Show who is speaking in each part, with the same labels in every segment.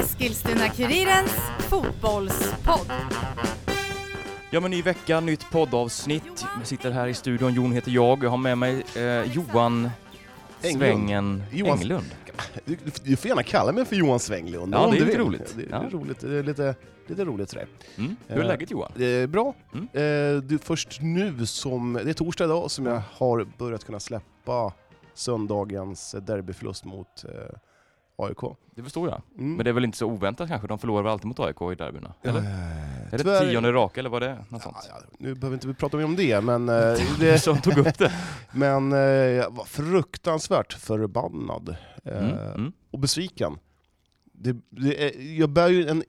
Speaker 1: Eskilstuna-Kurirens fotbollspodd.
Speaker 2: Ja men ny vecka, nytt poddavsnitt. Jag sitter här i studion, Jon heter jag. Jag har med mig eh, Johan
Speaker 3: Englund.
Speaker 2: Svängen
Speaker 3: Johan-
Speaker 2: Englund.
Speaker 3: Du, du, du får gärna kalla mig för Johan Svänglund
Speaker 2: Ja,
Speaker 3: om
Speaker 2: det är
Speaker 3: du
Speaker 2: lite
Speaker 3: vill.
Speaker 2: roligt.
Speaker 3: Det, det
Speaker 2: Ja.
Speaker 3: är roligt. Det är lite, lite roligt sådär.
Speaker 2: Mm. Hur är
Speaker 3: Eh,
Speaker 2: läget Johan?
Speaker 3: Det är bra.
Speaker 2: Mm.
Speaker 3: Eh, du, först nu som, det är torsdag idag som jag har börjat kunna släppa söndagens derbyförlust mot eh, AIK.
Speaker 2: Det förstår jag.
Speaker 3: Mm.
Speaker 2: Men det är väl inte så oväntat kanske? De förlorar väl alltid mot AIK i derbyna? Eller?
Speaker 3: Eh,
Speaker 2: är det
Speaker 3: tyvärr-
Speaker 2: tionde raka eller vad det är? Något
Speaker 3: Ja,
Speaker 2: sånt.
Speaker 3: ja, nu behöver inte vi prata mer om det, men, eh, det,
Speaker 2: Som tog upp det.
Speaker 3: men eh, jag var fruktansvärt förbannad. Eh,
Speaker 2: Mm. Mm.
Speaker 3: och besviken. Det, det är, jag bär ju en,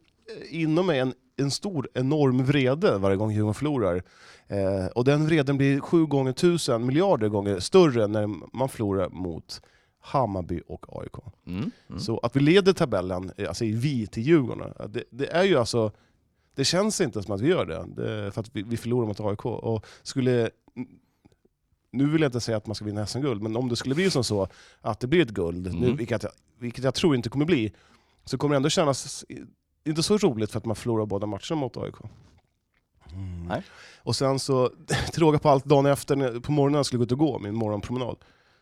Speaker 3: inom mig en, en stor, enorm vrede varje gång Djurgården förlorar. Eh, och den vreden blir sju gånger tusen miljarder gånger större när man förlorar mot Hammarby och AIK.
Speaker 2: Mm. Mm.
Speaker 3: Så att vi leder tabellen, eh, alltså vi till Djurgården, eh, det, det är ju alltså det känns inte som att vi gör det, det för att vi, vi förlorar mot AIK. Och skulle, nu vill jag inte säga att man ska vinna SM-guld, men om det skulle bli som så att det blir ett guld, nu,
Speaker 2: Mm.
Speaker 3: vilket, jag, vilket jag tror inte kommer bli, så kommer det ändå kännas i- inte så roligt för att man förlorar båda matcherna mot AIK.
Speaker 2: Nej.
Speaker 3: Och sen så, till råga på allt, dagen efter när- på morgonen när jag skulle gå ut och gå, min morgonpromenad,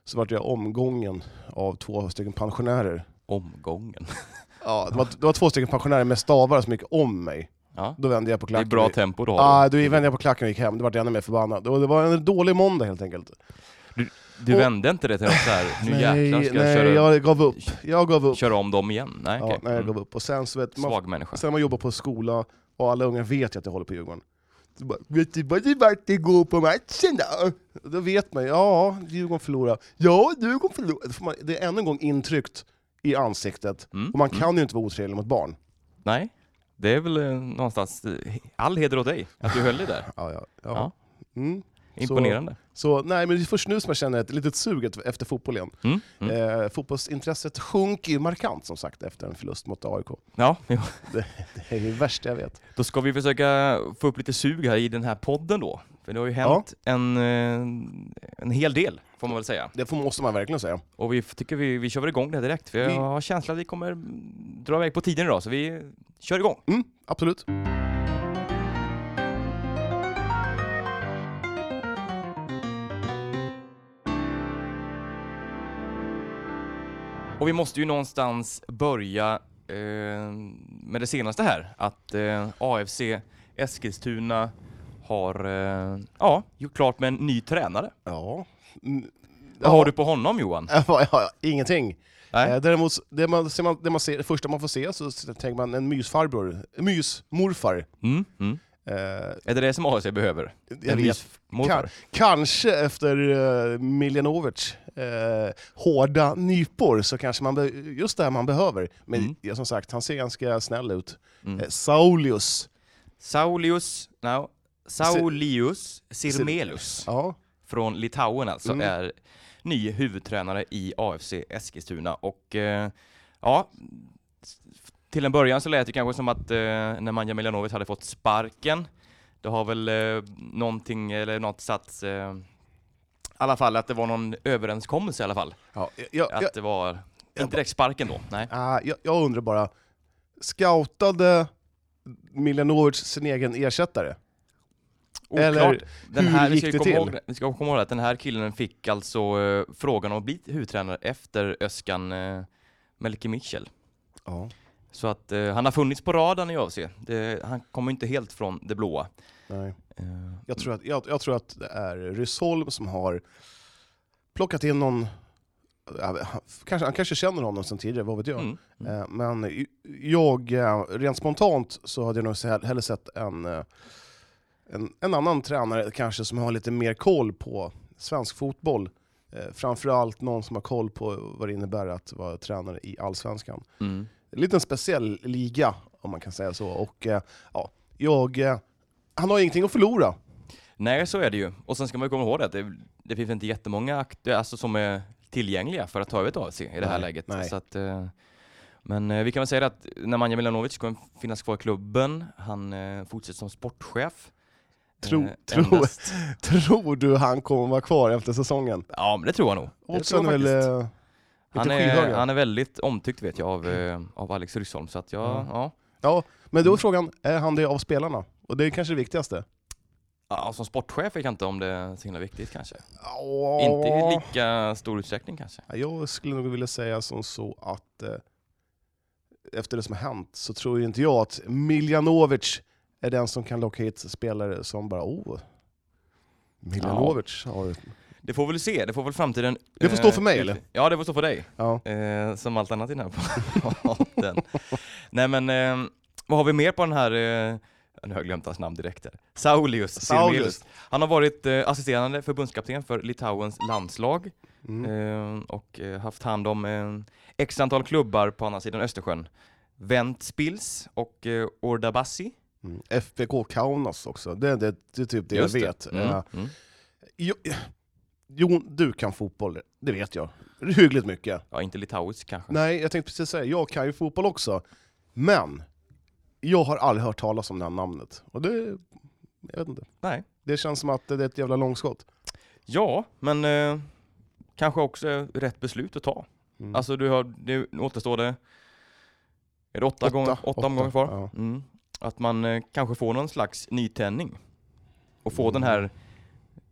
Speaker 3: så vart jag omgången av två stycken pensionärer.
Speaker 2: Omgången.
Speaker 3: Ja, det, var, det var två stycken pensionärer med stavar som gick om mig.
Speaker 2: Ja.
Speaker 3: Då vände jag på
Speaker 2: Det är
Speaker 3: klacken.
Speaker 2: bra tempo du har.
Speaker 3: Ja, då vände jag på klacken och gick hem. Då vart jag ännu mer förbannad. Och det var en dålig måndag helt enkelt.
Speaker 2: Du
Speaker 3: och-
Speaker 2: vände inte det till något såhär, nu jäklar ska jag
Speaker 3: nej,
Speaker 2: köra,
Speaker 3: jag gav upp. Jag gav upp.
Speaker 2: köra om dem igen? Nej,
Speaker 3: Ja,
Speaker 2: okej.
Speaker 3: nej, jag
Speaker 2: Mm.
Speaker 3: gav upp. Och sen så vet man,
Speaker 2: Svag människa.
Speaker 3: sen man jobbar på skola och alla unga vet ju att jag håller på Djurgården. Så bara, vet du vad det vart igår på matchen då? Då vet man, ja, Djurgården förlorar. Ja, Djurgården förlorar. Då får man- Det är ännu en gång intryckt i ansiktet.
Speaker 2: Mm.
Speaker 3: Och man
Speaker 2: Mm.
Speaker 3: kan ju inte vara otrevlig mot barn.
Speaker 2: Nej, det är väl eh, någonstans, eh, all heder åt dig, att du höll dig där.
Speaker 3: Ja, ja,
Speaker 2: Ja.
Speaker 3: ja. Mm.
Speaker 2: Imponerande.
Speaker 3: Så nej, men det är först nu som jag känner ett litet sug efter- efter fotboll igen.
Speaker 2: Mm. Mm.
Speaker 3: Eh, fotbollsintresset sjunker ju markant som sagt efter en förlust mot AIK.
Speaker 2: Ja, jo.
Speaker 3: Det är det värsta jag vet.
Speaker 2: Då ska vi försöka få upp lite sug här i den här podden då. För det har ju hänt en, eh, en hel del, får man väl säga.
Speaker 3: Det får, måste man verkligen säga.
Speaker 2: Och vi f- tycker vi, vi kör väl igång det här direkt, för jag
Speaker 3: Vi-
Speaker 2: har känslan att vi kommer dra iväg på tiden idag, så vi kör igång.
Speaker 3: Mm, absolut.
Speaker 2: Och vi måste ju någonstans börja eh, med det senaste här, att eh, AFC Eskilstuna har eh, ja, gjort klart med en ny tränare.
Speaker 3: Ja. Mm,
Speaker 2: Vad har du på honom Johan?
Speaker 3: Ja, ja, ja, ingenting.
Speaker 2: Nej.
Speaker 3: Eh, däremot, det, man, ser man, det, man ser, det första man får se så s- tänker man en mysfarbror, en mysmorfar.
Speaker 2: Mm, mm.
Speaker 3: Eh, jag
Speaker 2: Är det det som AFC behöver?
Speaker 3: vet,
Speaker 2: mysmorfar?
Speaker 3: kan, kanske efter eh, Miljanovic eh, hårda nypor så kanske man, be, just det här man behöver. Men
Speaker 2: Mm.
Speaker 3: ja, som sagt, han ser ganska snäll ut.
Speaker 2: Mm.
Speaker 3: Eh, Saulius.
Speaker 2: Saulius, no, Saulius Sirmelus
Speaker 3: Ja.
Speaker 2: från Litauen alltså
Speaker 3: Mm.
Speaker 2: är ny huvudtränare i AFC Eskilstuna och eh, ja, s- till en början så lät det kanske som att eh, när Manja Miljanovic hade fått sparken, det har väl eh, någonting eller något satts eh, i alla fall att det var någon överenskommelse i alla fall.
Speaker 3: Ja, jag, jag,
Speaker 2: Att det var inte direkt sparken då, nej.
Speaker 3: ah, jag, jag undrar bara, scoutade Miljanovic sin egen ersättare?
Speaker 2: Oklart.
Speaker 3: Eller
Speaker 2: den
Speaker 3: hur
Speaker 2: här, vi
Speaker 3: gick
Speaker 2: ska ju
Speaker 3: det
Speaker 2: komma
Speaker 3: till?
Speaker 2: Ihåg, vi ska komma ihåg att den här killen fick alltså eh, frågan om att bli huvudtränare efter Öskan uh, Melke Mitchell.
Speaker 3: Ja.
Speaker 2: Så att eh, han har funnits på radarn i AFC. Det, han kommer inte helt från det blåa.
Speaker 3: Nej.
Speaker 2: Eh,
Speaker 3: Jag, tror att, jag, jag tror att det är Rysholm som har plockat in någon, ja, han- kanske, han kanske känner honom sedan tidigare, vad vet jag.
Speaker 2: mm. Mm.
Speaker 3: Eh, Men i- jag, eh, rent spontant så hade jag nog se- hellre sett en, eh, en, en annan tränare kanske som har lite mer koll på svensk fotboll. Eh, Framförallt någon som har koll på vad det innebär att vara tränare i Allsvenskan.
Speaker 2: Mm.
Speaker 3: En liten speciell liga om man kan säga så. Och eh, ja, jag, eh, han har ingenting att förlora.
Speaker 2: Nej, så är det ju. Och sen ska man ju komma ihåg det att det, det finns inte jättemånga aktu- alltså, som är tillgängliga för att ta över ett AFC i det här
Speaker 3: Nej,
Speaker 2: läget.
Speaker 3: nej.
Speaker 2: Så att, eh, men eh, vi kan väl säga det att Nemanja Milanovic kommer finnas kvar i klubben. Han eh, fortsätter som sportchef.
Speaker 3: Tro-
Speaker 2: Eh,
Speaker 3: tro-
Speaker 2: endast-
Speaker 3: Tror du han kommer vara kvar efter säsongen?
Speaker 2: Ja, men det tror jag nog. Det
Speaker 3: Oddsen
Speaker 2: tror jag
Speaker 3: är väl
Speaker 2: faktiskt.
Speaker 3: eh,
Speaker 2: Han
Speaker 3: Lite
Speaker 2: är,
Speaker 3: skyhöga.
Speaker 2: han är väldigt omtyckt vet jag av, eh, av Alex Ryssholm, så att jag,
Speaker 3: Mm.
Speaker 2: ja.
Speaker 3: Ja, men då är frågan, är han det av spelarna? Och det är kanske det viktigaste.
Speaker 2: ja. Som sportchef vet jag inte om det är så himla viktigt kanske.
Speaker 3: Ja.
Speaker 2: Inte i lika stor utsträckning kanske.
Speaker 3: Ja, Jag skulle nog vilja säga som så att eh, efter det som har hänt så tror ju inte jag att Miljanovic är den som kan locka hit spelare som bara oh, Miljanovic har det.
Speaker 2: Det får vi väl se, det får väl framtiden...
Speaker 3: Det får
Speaker 2: eh,
Speaker 3: stå för mig,
Speaker 2: ut-
Speaker 3: eller?
Speaker 2: Ja, det får stå för dig.
Speaker 3: Ja.
Speaker 2: Eh, som allt annat i den här podden. Nej men, eh, vad har vi mer på den här, eh, nu har jag glömt hans namn direkt här. Saulius
Speaker 3: Saulius.
Speaker 2: Sirmelius. Han har varit eh, assisterande förbundskapten för Litauens landslag
Speaker 3: Mm.
Speaker 2: eh, och eh, haft hand om eh, x antal klubbar på andra sidan Östersjön. Ventspils och eh, Ordabassi.
Speaker 3: Mm. FBK Kaunas också, det, det, det är typ det
Speaker 2: Just
Speaker 3: jag vet.
Speaker 2: Mm,
Speaker 3: Eh,
Speaker 2: mm.
Speaker 3: jo, Jon, du kan fotboll, det vet jag. Hyggligt mycket.
Speaker 2: Ja, inte litauisk kanske.
Speaker 3: Nej, jag tänkte precis säga, jag kan ju fotboll också. Men, jag har aldrig hört talas om det här namnet. Och det, jag vet inte.
Speaker 2: Nej.
Speaker 3: Det känns som att det är ett jävla långskott.
Speaker 2: Ja, men eh, kanske också rätt beslut att ta.
Speaker 3: Mm.
Speaker 2: Alltså du har, nu återstår det, är det åtta,
Speaker 3: Åtta.
Speaker 2: gånger, åtta,
Speaker 3: Åtta,
Speaker 2: omgångar kvar?
Speaker 3: ja.
Speaker 2: Mm. Att man eh, kanske får någon slags nytändning. Och får
Speaker 3: Mm.
Speaker 2: den här,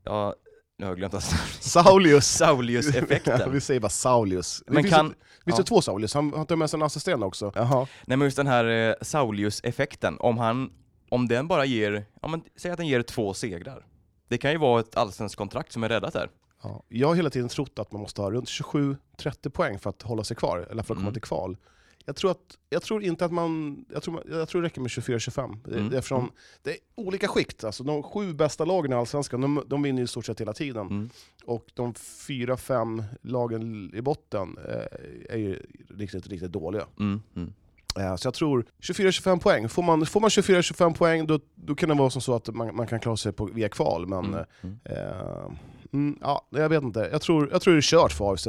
Speaker 2: ja, nu har jag glömt att
Speaker 3: Saulius! Ja,
Speaker 2: Saulius-effekten.
Speaker 3: vi säger bara Saulius.
Speaker 2: Men
Speaker 3: Men finns,
Speaker 2: kan-
Speaker 3: kan... finns det två Saulius? Han han tar med sig en assistent också. Jaha.
Speaker 2: Nej men just den här eh, Saulius-effekten, om han, om den bara ger, ja men säg att den ger två segrar. Det kan ju vara ett allsvenskt kontrakt som är räddat där.
Speaker 3: Ja. Jag har hela tiden trott att man måste ha runt 27-30 poäng för att hålla sig kvar, eller för att komma
Speaker 2: Mm.
Speaker 3: till kval. Jag tror, att, jag tror inte att man... Jag tror, jag tror det räcker med 24-25. Det,
Speaker 2: Mm.
Speaker 3: det, är från, det är olika skikt. Alltså, de sju bästa lagen i Allsvenskan, de, de vinner ju i stort sett hela tiden.
Speaker 2: Mm.
Speaker 3: Och de fyra, fem lagen i botten eh, är ju riktigt, riktigt dåliga.
Speaker 2: Mm. Mm.
Speaker 3: Eh, Så jag tror 24-25 poäng. Får man, får man 24-25 poäng då, då kan det vara som så att man, man kan klara sig på, via kval. Men
Speaker 2: Mm. Mm.
Speaker 3: eh, mm, ja, jag vet inte. Jag tror, jag tror det är kört för AFC.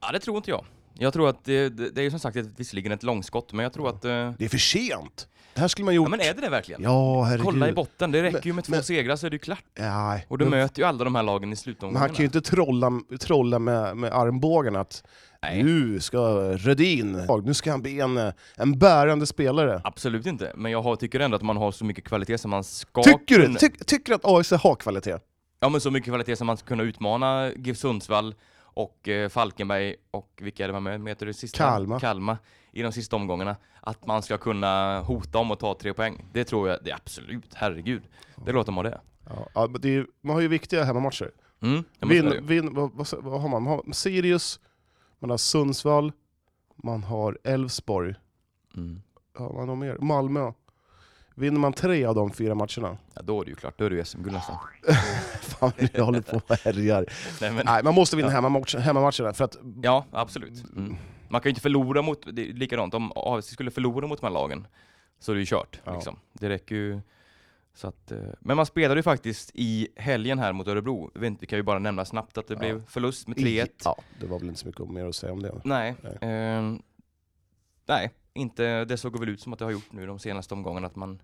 Speaker 2: Ja det tror inte jag. Jag tror att det, det, det är ju som sagt ett, visserligen ett långskott, men jag tror att... Eh, ja
Speaker 3: Det är för sent! Det här skulle man gjort...
Speaker 2: men är det det verkligen?
Speaker 3: Ja, herregud.
Speaker 2: Kolla i botten, det räcker ju med två
Speaker 3: men-
Speaker 2: segrar så är det ju klart.
Speaker 3: Nej.
Speaker 2: Och du
Speaker 3: men,
Speaker 2: möter ju alla de här lagen i
Speaker 3: men
Speaker 2: slutomgångarna.
Speaker 3: han kan ju inte trolla, trolla med, med armbågen att
Speaker 2: Nej,
Speaker 3: nu ska Rödin, nu ska han bli en, en bärande spelare.
Speaker 2: absolut inte. Men jag har, tycker ändå att man har så mycket kvalitet som man ska
Speaker 3: Tycker du
Speaker 2: kunna...
Speaker 3: ty, tycker du att AFC har kvalitet?
Speaker 2: ja men så mycket kvalitet som man ska kunna utmana GIF Sundsvall och eh, Falkenberg och vilka är det man mö- möter i sista?
Speaker 3: Kalmar.
Speaker 2: Kalmar. I de sista omgångarna. Att man ska kunna hota om att ta tre poäng. Det tror jag, det är absolut, herregud. Det låter man det.
Speaker 3: Ja, ja, men det är, ju- man har ju viktiga hemmamatcher.
Speaker 2: Mm, det måste det ju.
Speaker 3: Vin, vin, vad, vad, vad har man? Man har Sirius, man har Sundsvall, man har Elfsborg,
Speaker 2: Mm.
Speaker 3: ja, man har mer. Malmö. Vinner man tre av de fyra matcherna?
Speaker 2: Ja, då är det ju klart, då är det ju SM-guld nästan.
Speaker 3: Fan, jag håller på och härjar.
Speaker 2: Nej, men,
Speaker 3: Nej, man måste vinna hemmamatch, hemmamatcherna för att...
Speaker 2: Ja, absolut. Mm. Man kan ju inte förlora mot, det är likadant, om AFC skulle förlora mot de här lagen så är det ju kört.
Speaker 3: Ja.
Speaker 2: Liksom. Det räcker ju. Så att, eh, men man spelade ju faktiskt i helgen här mot Örebro. Jag vet inte, Vi kan ju bara nämna snabbt att det
Speaker 3: Ja.
Speaker 2: blev förlust med 3-1.
Speaker 3: Ja, det var väl inte så mycket mer att säga om det.
Speaker 2: Nej.
Speaker 3: Nej.
Speaker 2: ehm, nej, inte, det såg väl ut som att det har gjort nu de senaste omgångarna, att man,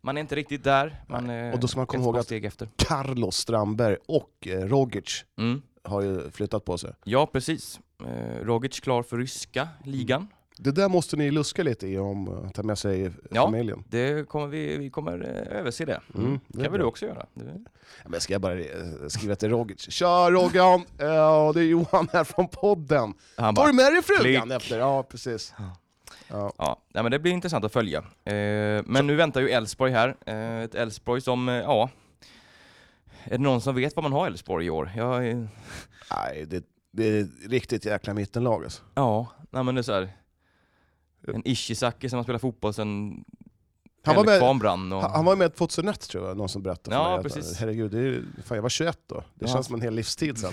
Speaker 2: man är inte riktigt där. Man är
Speaker 3: Och då ska man komma
Speaker 2: ett
Speaker 3: ihåg
Speaker 2: par
Speaker 3: att-
Speaker 2: steg efter.
Speaker 3: Carlos Strandberg och eh, Rogic
Speaker 2: Mm.
Speaker 3: har ju flyttat på sig.
Speaker 2: Ja, precis. Eh, Rogic klar för ryska ligan.
Speaker 3: Det där måste ni luska lite i om att ta med sig eh,
Speaker 2: Ja.
Speaker 3: familjen.
Speaker 2: Det kommer vi, vi kommer eh, överse det.
Speaker 3: Mm,
Speaker 2: Mm.
Speaker 3: det är
Speaker 2: det kan väl
Speaker 3: bra.
Speaker 2: du också göra? Det-
Speaker 3: Ja, Men ska jag bara eh, skriva till Rogic? Tja Roggan! Ja, det är Johan här från podden.
Speaker 2: Han
Speaker 3: Tar
Speaker 2: bara,
Speaker 3: du med dig frugan
Speaker 2: Klick.
Speaker 3: efter? Ja, precis.
Speaker 2: Ja.
Speaker 3: Ja.
Speaker 2: ja, nej, men det blir intressant att följa. Eh, men nu väntar ju Elfsborg här. Eh, ett Elfsborg som, eh, ja... Är det någon som vet vad man har Elfsborg i år? Jag, eh,
Speaker 3: Nej, det, det är ett riktigt jäkla mittenlag alltså.
Speaker 2: ja, nej men det är så här. En Ishizaki som har spelat fotboll sedan
Speaker 3: Han var med-
Speaker 2: Älvkvarn brann. Och,
Speaker 3: Han han var ju med på 2001 tror jag, någon som berättade
Speaker 2: Ja,
Speaker 3: för mig. att-
Speaker 2: precis.
Speaker 3: Herregud, det är, ju- fan, jag var 21 då. Det
Speaker 2: Ja.
Speaker 3: känns som en hel livstid sen.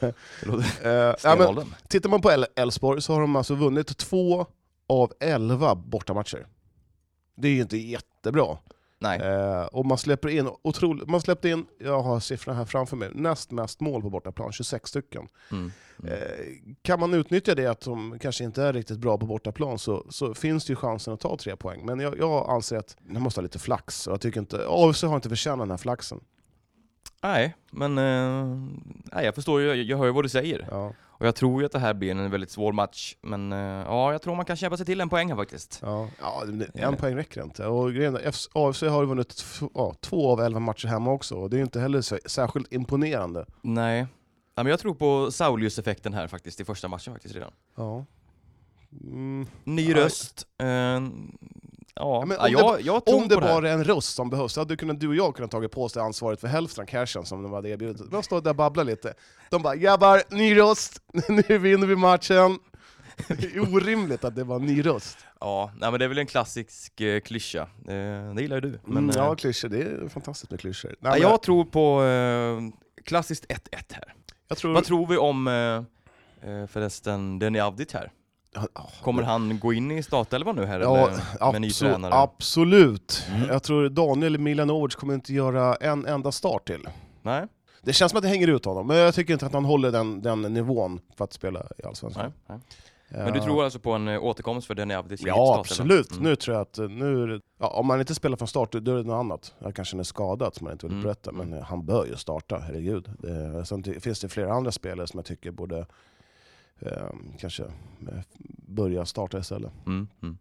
Speaker 2: det låter-
Speaker 3: Eh, ja, men,
Speaker 2: Stenåldern.
Speaker 3: tittar man på El- Elfsborg så har de alltså vunnit två av elva bortamatcher. Det är ju inte jättebra.
Speaker 2: Nej,
Speaker 3: Eh, och man släpper in, otroligt, man släppte in, jag har siffrorna här framför mig, näst mest mål på bortaplan, 26 stycken.
Speaker 2: mm.
Speaker 3: Eh, kan man utnyttja det att de kanske inte är riktigt bra på bortaplan så, så finns det ju chansen att ta tre poäng. Men jag, jag anser att man måste ha lite flax. Och jag tycker inte, AFC har inte förtjänat den här flaxen.
Speaker 2: nej men eh, nej, jag förstår ju, jag hör ju vad du säger.
Speaker 3: Ja.
Speaker 2: Och jag tror ju att det här blir en väldigt svår match, men eh, ja, jag tror man kan kämpa sig till en poäng här faktiskt.
Speaker 3: Ja, ja det- det- en poäng räcker inte. Och grejen är, F- AFC har ju vunnit tf- ja, två av elva matcher hemma också, och det är ju inte heller så- särskilt imponerande.
Speaker 2: Nej. Ja, men jag tror på Saulius-effekten här faktiskt, i första matchen faktiskt redan.
Speaker 3: Ja. Mm.
Speaker 2: Ny
Speaker 3: Ja.
Speaker 2: röst. Eh, ja,
Speaker 3: men
Speaker 2: ja,
Speaker 3: om det-
Speaker 2: jag, jag tror
Speaker 3: Om det
Speaker 2: på det här.
Speaker 3: bara är en röst som behövs, så hade du, kunnat, du och jag kunnat tagit på oss det ansvaret för hälften av cashen som de hade erbjudit. Man står där och babblar lite. De bara “grabbar, ny röst, nu vinner vi matchen”. Det är orimligt att det var en ny röst.
Speaker 2: Ja, nej, men det är väl en klassisk eh, klyscha. Eh, det gillar ju du. Men,
Speaker 3: Men,
Speaker 2: eh,
Speaker 3: Mm, ja, klyschor. Det är fantastiskt med klyschor. Nej,
Speaker 2: nej,
Speaker 3: men
Speaker 2: jag tror på eh, klassiskt 1-1 här.
Speaker 3: jag tror...
Speaker 2: Vad tror vi om eh, eh, förresten Denny Avdic här?
Speaker 3: Ja,
Speaker 2: Kommer han gå in i startelvan nu här?
Speaker 3: Ja,
Speaker 2: eller? med ny
Speaker 3: absolut.
Speaker 2: tränare?
Speaker 3: absolut.
Speaker 2: Mm.
Speaker 3: Jag tror Daniel Milanovic kommer inte göra en enda start till.
Speaker 2: Nej?
Speaker 3: Det känns som att det hänger ut honom, men jag tycker inte att han håller den, den nivån för att spela i Allsvenskan.
Speaker 2: nej, nej. Men du
Speaker 3: Eh,
Speaker 2: tror alltså på en eh, återkomst för Denny Avdic? i
Speaker 3: Ja,
Speaker 2: startelvan?
Speaker 3: absolut.
Speaker 2: Mm.
Speaker 3: Nu tror jag att eh, nu, är det- ja, om man inte spelar från start, då är det något annat. Jag kanske är skadad som man inte vill
Speaker 2: Mm.
Speaker 3: berätta, men eh, han bör ju starta, herregud. Det, sen ty- finns det flera andra spelare som jag tycker borde eh, kanske eh, börja starta istället.
Speaker 2: Mm, mm.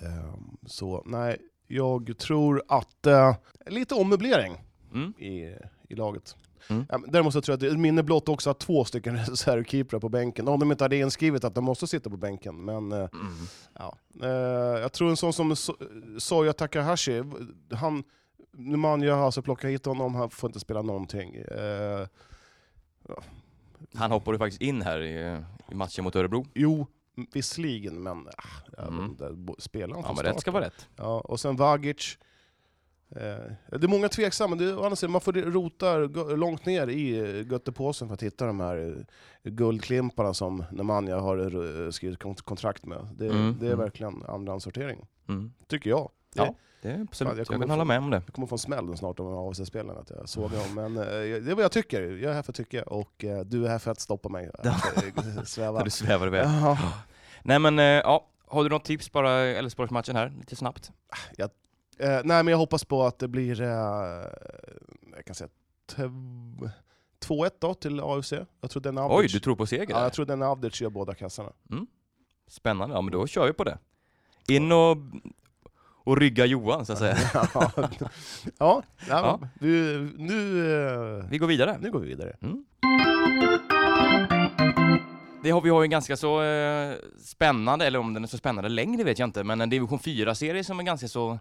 Speaker 3: Eh, så nej, jag tror att eh, lite ommöblering
Speaker 2: Mm.
Speaker 3: i, i laget.
Speaker 2: Mm.
Speaker 3: Ja, men Däremot så tror jag att det är ett minne blott också att två stycken reservkeeprar på bänken, om de inte hade inskrivet att de måste sitta på bänken. Men eh,
Speaker 2: Mm.
Speaker 3: Ja. Eh, jag tror en sån som so Soya Takahashi, han, Nemanja har alltså plockat hit honom, han får inte spela någonting. Eh,
Speaker 2: Han hoppade faktiskt in här i, eh, i matchen mot Örebro.
Speaker 3: jo, visserligen, men ah, jag vet
Speaker 2: Mm.
Speaker 3: inte, bo- spelar han
Speaker 2: Ja,
Speaker 3: från
Speaker 2: men
Speaker 3: start
Speaker 2: rätt ska
Speaker 3: då?
Speaker 2: vara rätt.
Speaker 3: Ja, och sen Vagic. Eh, det är många tveksamma, det, är- å andra sidan, man får rota gå- långt ner i eh, göttepåsen för att hitta de här eh, guldklimparna som Nemanja har eh, skrivit kont- kontrakt med. Det,
Speaker 2: Mm,
Speaker 3: det är
Speaker 2: mm.
Speaker 3: verkligen andrahandssortering,
Speaker 2: Mm.
Speaker 3: tycker jag.
Speaker 2: Det är absolut,
Speaker 3: Ja, jag
Speaker 2: jag,
Speaker 3: kommer
Speaker 2: kan hålla
Speaker 3: få-
Speaker 2: med om det.
Speaker 3: Jag kommer få en smäll snart om AFC-spelaren att jag såg honom. Men eh, det är vad jag tycker. Jag är här för att tycka och eh, du är här för att stoppa mig. Att, eh,
Speaker 2: Där
Speaker 3: Sväva.
Speaker 2: du svävar iväg.
Speaker 3: Ja,
Speaker 2: Nej men, eh, ja. Har du något tips bara i Elfsborgsmatchen här, lite snabbt?
Speaker 3: eh, nej, men jag hoppas på att det blir eh, jag kan säga, tv- 2-1 då till AFC. Jag tror den
Speaker 2: Oj,
Speaker 3: Avdic,
Speaker 2: du tror på seger?
Speaker 3: ja,
Speaker 2: där.
Speaker 3: jag tror den Avdic gör båda kassarna.
Speaker 2: Spännande, ja men då kör vi på det. In och, och rygga Johan så att säga.
Speaker 3: ja, ja, men Du, nu, eh,
Speaker 2: Vi går vidare.
Speaker 3: nu går vi vidare.
Speaker 2: Det har, vi har ju en ganska så eh, spännande, eller om den är så spännande längre vet jag inte, men en division 4-serie som är ganska så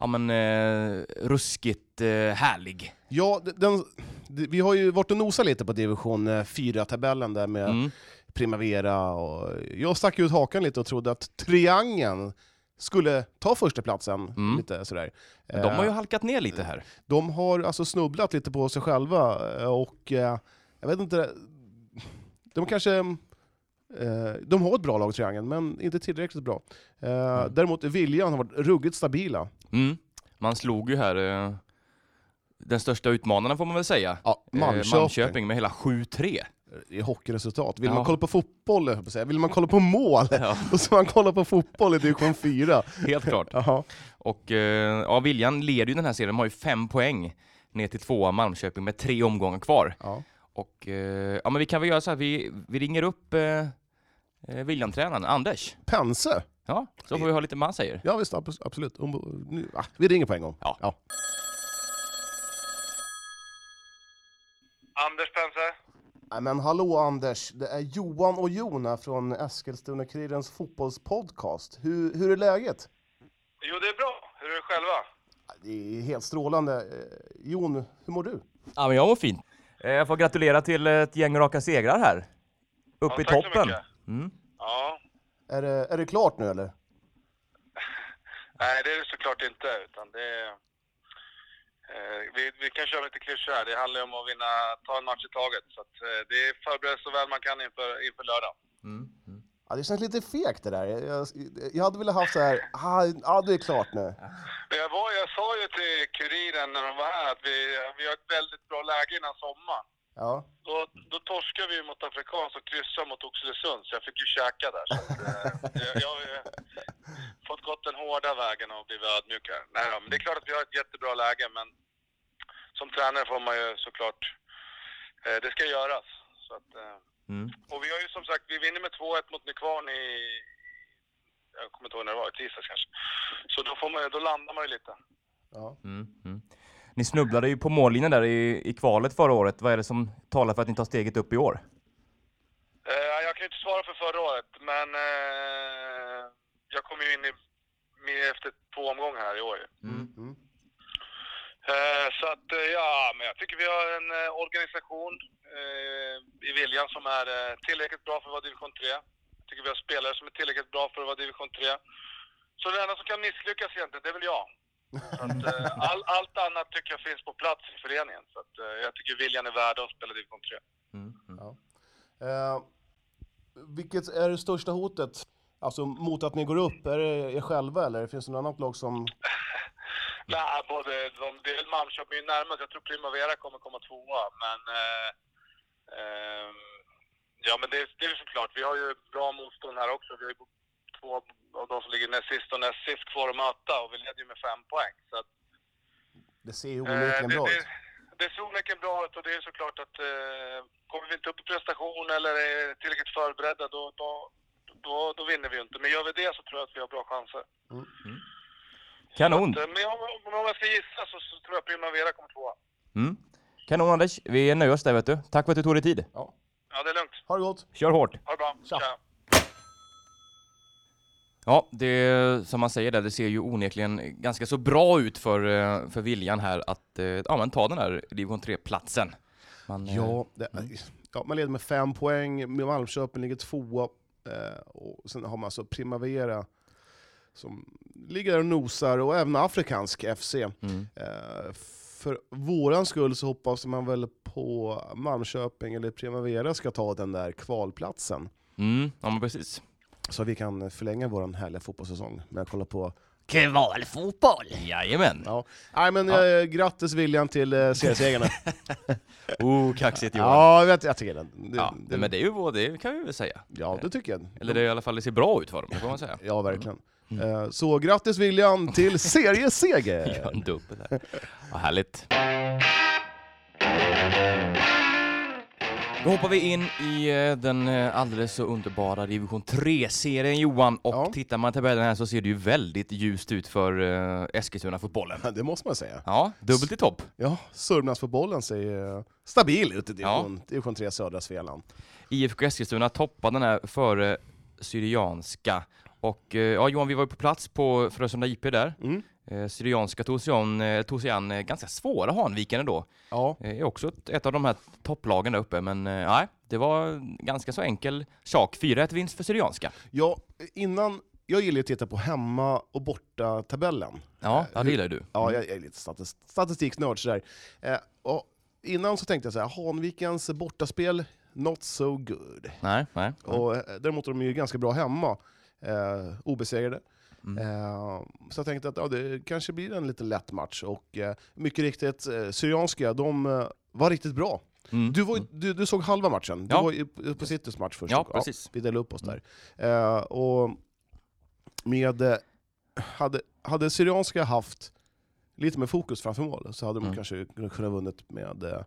Speaker 2: ja, men, eh, ruskigt eh, härlig.
Speaker 3: Ja, d- den, d- vi har ju varit och nosat lite på division 4-tabellen där med
Speaker 2: Mm.
Speaker 3: Primavera och jag stack ut hakan lite och trodde att Triangeln skulle ta första platsen
Speaker 2: Mm.
Speaker 3: lite sådär.
Speaker 2: Men de har ju
Speaker 3: Eh,
Speaker 2: halkat ner lite här.
Speaker 3: de har alltså snubblat lite på sig själva eh, och eh, jag vet inte, de kanske... eh, De har ett bra lag, Triangeln, men inte tillräckligt bra. Eh,
Speaker 2: Mm.
Speaker 3: Däremot Viljan har varit ruggigt stabila.
Speaker 2: Mm. Man slog ju här eh, den största utmanaren får man väl säga.
Speaker 3: Ja,
Speaker 2: Eh,
Speaker 3: Malmköping,
Speaker 2: Malmköping med hela 7-3.
Speaker 3: i hockeyresultat. Vill man
Speaker 2: Ja.
Speaker 3: kolla på fotboll, höll jag på att säga, vill man kolla på mål,
Speaker 2: Ja,
Speaker 3: då ska man kolla på fotboll i division 4.
Speaker 2: helt klart.
Speaker 3: Jaha.
Speaker 2: Och eh, ja, Viljan leder ju den här serien, de har ju fem poäng ner till tvåa Malmköping med tre omgångar kvar.
Speaker 3: Ja.
Speaker 2: Och eh, ja, men vi kan väl göra så här, vi, vi ringer upp eh, eh, Viljan-tränaren, Anders.
Speaker 3: Pense!
Speaker 2: Ja, så får vi höra lite vad han säger.
Speaker 3: Ja visst, abs- absolut. Om- nu- ah, Vi ringer på en gång.
Speaker 2: Ja.
Speaker 4: Anders Pense.
Speaker 3: Nej, Men hallå Anders, det är Johan och Jona från Eskilstuna-Kurirens fotbollspodcast. Hur, hur är läget?
Speaker 4: Jo, det är bra. Hur är det själva?
Speaker 3: Det är helt strålande. Eh, Jon, hur mår du?
Speaker 2: Ja, men jag mår fint. Eh, jag får gratulera till ett gäng raka segrar här. Uppe i
Speaker 4: tack så
Speaker 2: toppen.
Speaker 4: mycket.
Speaker 2: Mm.
Speaker 4: Ja.
Speaker 3: Är det, är det klart nu eller?
Speaker 4: Nej, det är det såklart inte. Utan det är, eh, vi, vi kan köra lite klyschor här. Det handlar ju om att vinna, ta en match i taget. Så att, eh, det är förbereda så väl man kan inför, inför lördag.
Speaker 2: Mm,
Speaker 3: Ja, det känns lite fegt det där. Jag, jag, jag hade velat haft så här, ah, ja det är klart nu.
Speaker 4: Men jag, var, jag sa ju till Kuriren när de var här att vi, vi har ett väldigt bra läge innan sommaren.
Speaker 3: Ja.
Speaker 4: Då, då torskar vi ju mot Afrikans och kryssar mot Oxelösund, så jag fick ju käka där. Så att, eh, jag, jag har ju fått gått den hårda vägen och blivit ödmjuk här. Nej, då, men det är klart att vi har ett jättebra läge, men som tränare får man ju såklart... Eh, det ska göras. Så att, eh,
Speaker 2: Mm.
Speaker 4: Och vi har ju som sagt, vi vinner med 2-1 mot Nykvarn i... Jag kommer inte ihåg när det var, i tisdags kanske. Så då, får man, då landar man ju lite.
Speaker 3: Ja.
Speaker 2: Mm. Mm. Ni snubblade ju på mållinjen där i, i kvalet förra året. Vad är det som talar för att ni tar steget upp i år?
Speaker 4: Eh, jag kan ju inte svara för förra året, men eh, jag kom ju in i, med efter två omgångar här i år ju.
Speaker 3: Mm.
Speaker 4: Eh, så att, eh, ja, men jag tycker vi har en eh, organisation eh, i Viljan som är eh, tillräckligt bra för att vara division 3. Jag tycker vi har spelare som är tillräckligt bra för att vara division 3. Så det enda som kan misslyckas egentligen, det är väl jag. Så att, eh, all, allt annat tycker jag finns på plats i föreningen. Så att, eh, jag tycker Viljan är värda att spela division 3.
Speaker 2: Mm. Mm.
Speaker 3: Eh, vilket är det största hotet? Alltså mot att ni går upp, är det er själva eller finns det något annat lag som...
Speaker 4: Nej, både de, det är väl Malmköping är närmast. Jag tror Primavera kommer komma tvåa, men... Eh, ehm, ja, men det, det är ju såklart. Vi har ju bra motstånd här också. Vi har ju två av de som ligger näst sist och näst sist kvar att möta och vi leder ju med fem poäng. Så att,
Speaker 3: Det ser ju
Speaker 4: eh,
Speaker 3: onekligen
Speaker 4: det,
Speaker 3: bra
Speaker 4: det,
Speaker 3: ut.
Speaker 4: det ser onekligen bra ut och det är såklart att eh, kommer vi inte upp i prestation eller är tillräckligt förberedda, då, då, då, då vinner vi ju inte. Men gör vi det så tror jag att vi har bra chanser.
Speaker 2: Kanon!
Speaker 4: Men om, om jag ska gissa så, så tror jag Primavera kommer tvåa.
Speaker 2: Mm. Kanon Anders, vi nöjer oss där vet du. Tack för att du tog dig tid.
Speaker 3: Ja.
Speaker 4: Ja, det är lugnt.
Speaker 3: Ha det gott!
Speaker 2: Kör hårt!
Speaker 4: Ha det bra.
Speaker 3: Tja.
Speaker 4: Tja.
Speaker 2: Ja, det som man säger där, det ser ju onekligen ganska så bra ut för, eh, för viljan här att eh, ja, men ta den här division 3-platsen. Man, eh,
Speaker 3: Ja, det, ja, man leder med fem poäng, Malmköping ligger tvåa, eh, och sen har man alltså Primavera som ligger där och nosar, och även Afrikansk FC.
Speaker 2: Mm.
Speaker 3: Eh, för våran skull så hoppas man väl på Malmköping eller Primavera ska ta den där kvalplatsen.
Speaker 2: Mm, ja men precis.
Speaker 3: Så vi kan förlänga vår härliga fotbollssäsong med att kolla på...
Speaker 2: Kvalfotboll! Jajamän!
Speaker 3: Ja. Nej men eh, grattis William till eh, seriesegern.
Speaker 2: Oh, kaxigt Johan. Ja,
Speaker 3: ja, jag, vet, jag tycker den. Det,
Speaker 2: ja,
Speaker 3: det,
Speaker 2: men det är ju vår, det kan vi väl säga.
Speaker 3: ja, det tycker jag.
Speaker 2: Eller det är i alla fall, det ser bra ut för dem, det får man säga.
Speaker 3: Ja, verkligen.
Speaker 2: Mm.
Speaker 3: Eh, Så grattis William till serieseger!
Speaker 2: Ja, en dubbel här. Vad härligt. Då hoppar vi in i eh, den eh, alldeles så underbara division 3-serien Johan och
Speaker 3: Ja.
Speaker 2: tittar man i tabellen här så ser det ju väldigt ljust ut för eh, Eskilstuna-fotbollen.
Speaker 3: Ja, Det måste man säga.
Speaker 2: Ja, dubbelt i topp.
Speaker 3: Ja, Sörmlandsfotbollen ser ju stabil ut i division, division 3 södra Svealand.
Speaker 2: IFK Eskilstuna toppar den här före Syrianska. Och eh, ja, Johan, vi var ju på plats på Frösunda IP där.
Speaker 3: Mm.
Speaker 2: Eh, Syrianska tog sig, an, eh, tog sig an eh, ganska svåra Hanviken ändå.
Speaker 3: Ja,
Speaker 2: Eh, Är också ett, ett av de här topplagen där uppe, men eh, nej, det var en ganska så enkel sak. 4-1 vinst för Syrianska.
Speaker 3: jag, innan, jag gillar ju att titta på hemma och borta-tabellen.
Speaker 2: Ja, ja det gillar du.
Speaker 3: Ja, jag jag är lite statist, statistiknörd sådär. Eh, och innan så tänkte jag så här, Hanvikens bortaspel, not so good.
Speaker 2: Nej, nej.
Speaker 3: Och, eh, däremot är de ju ganska bra hemma, eh, obesegrade.
Speaker 2: Mm.
Speaker 3: Eh, så jag tänkte att ja, det kanske blir en lite lätt match. Och eh, mycket riktigt, eh, Syrianska, de eh, var riktigt bra.
Speaker 2: Mm.
Speaker 3: Du, var, ju- du, du såg halva matchen, du
Speaker 2: Ja.
Speaker 3: var ju på- på Citys match först.
Speaker 2: Ja,
Speaker 3: och-
Speaker 2: precis. Mm.
Speaker 3: vi delade upp oss där. Eh, och med, eh, hade, hade Syrianska haft lite mer fokus framför mål så hade de
Speaker 2: Mm.
Speaker 3: kanske kunnat vunnit med eh,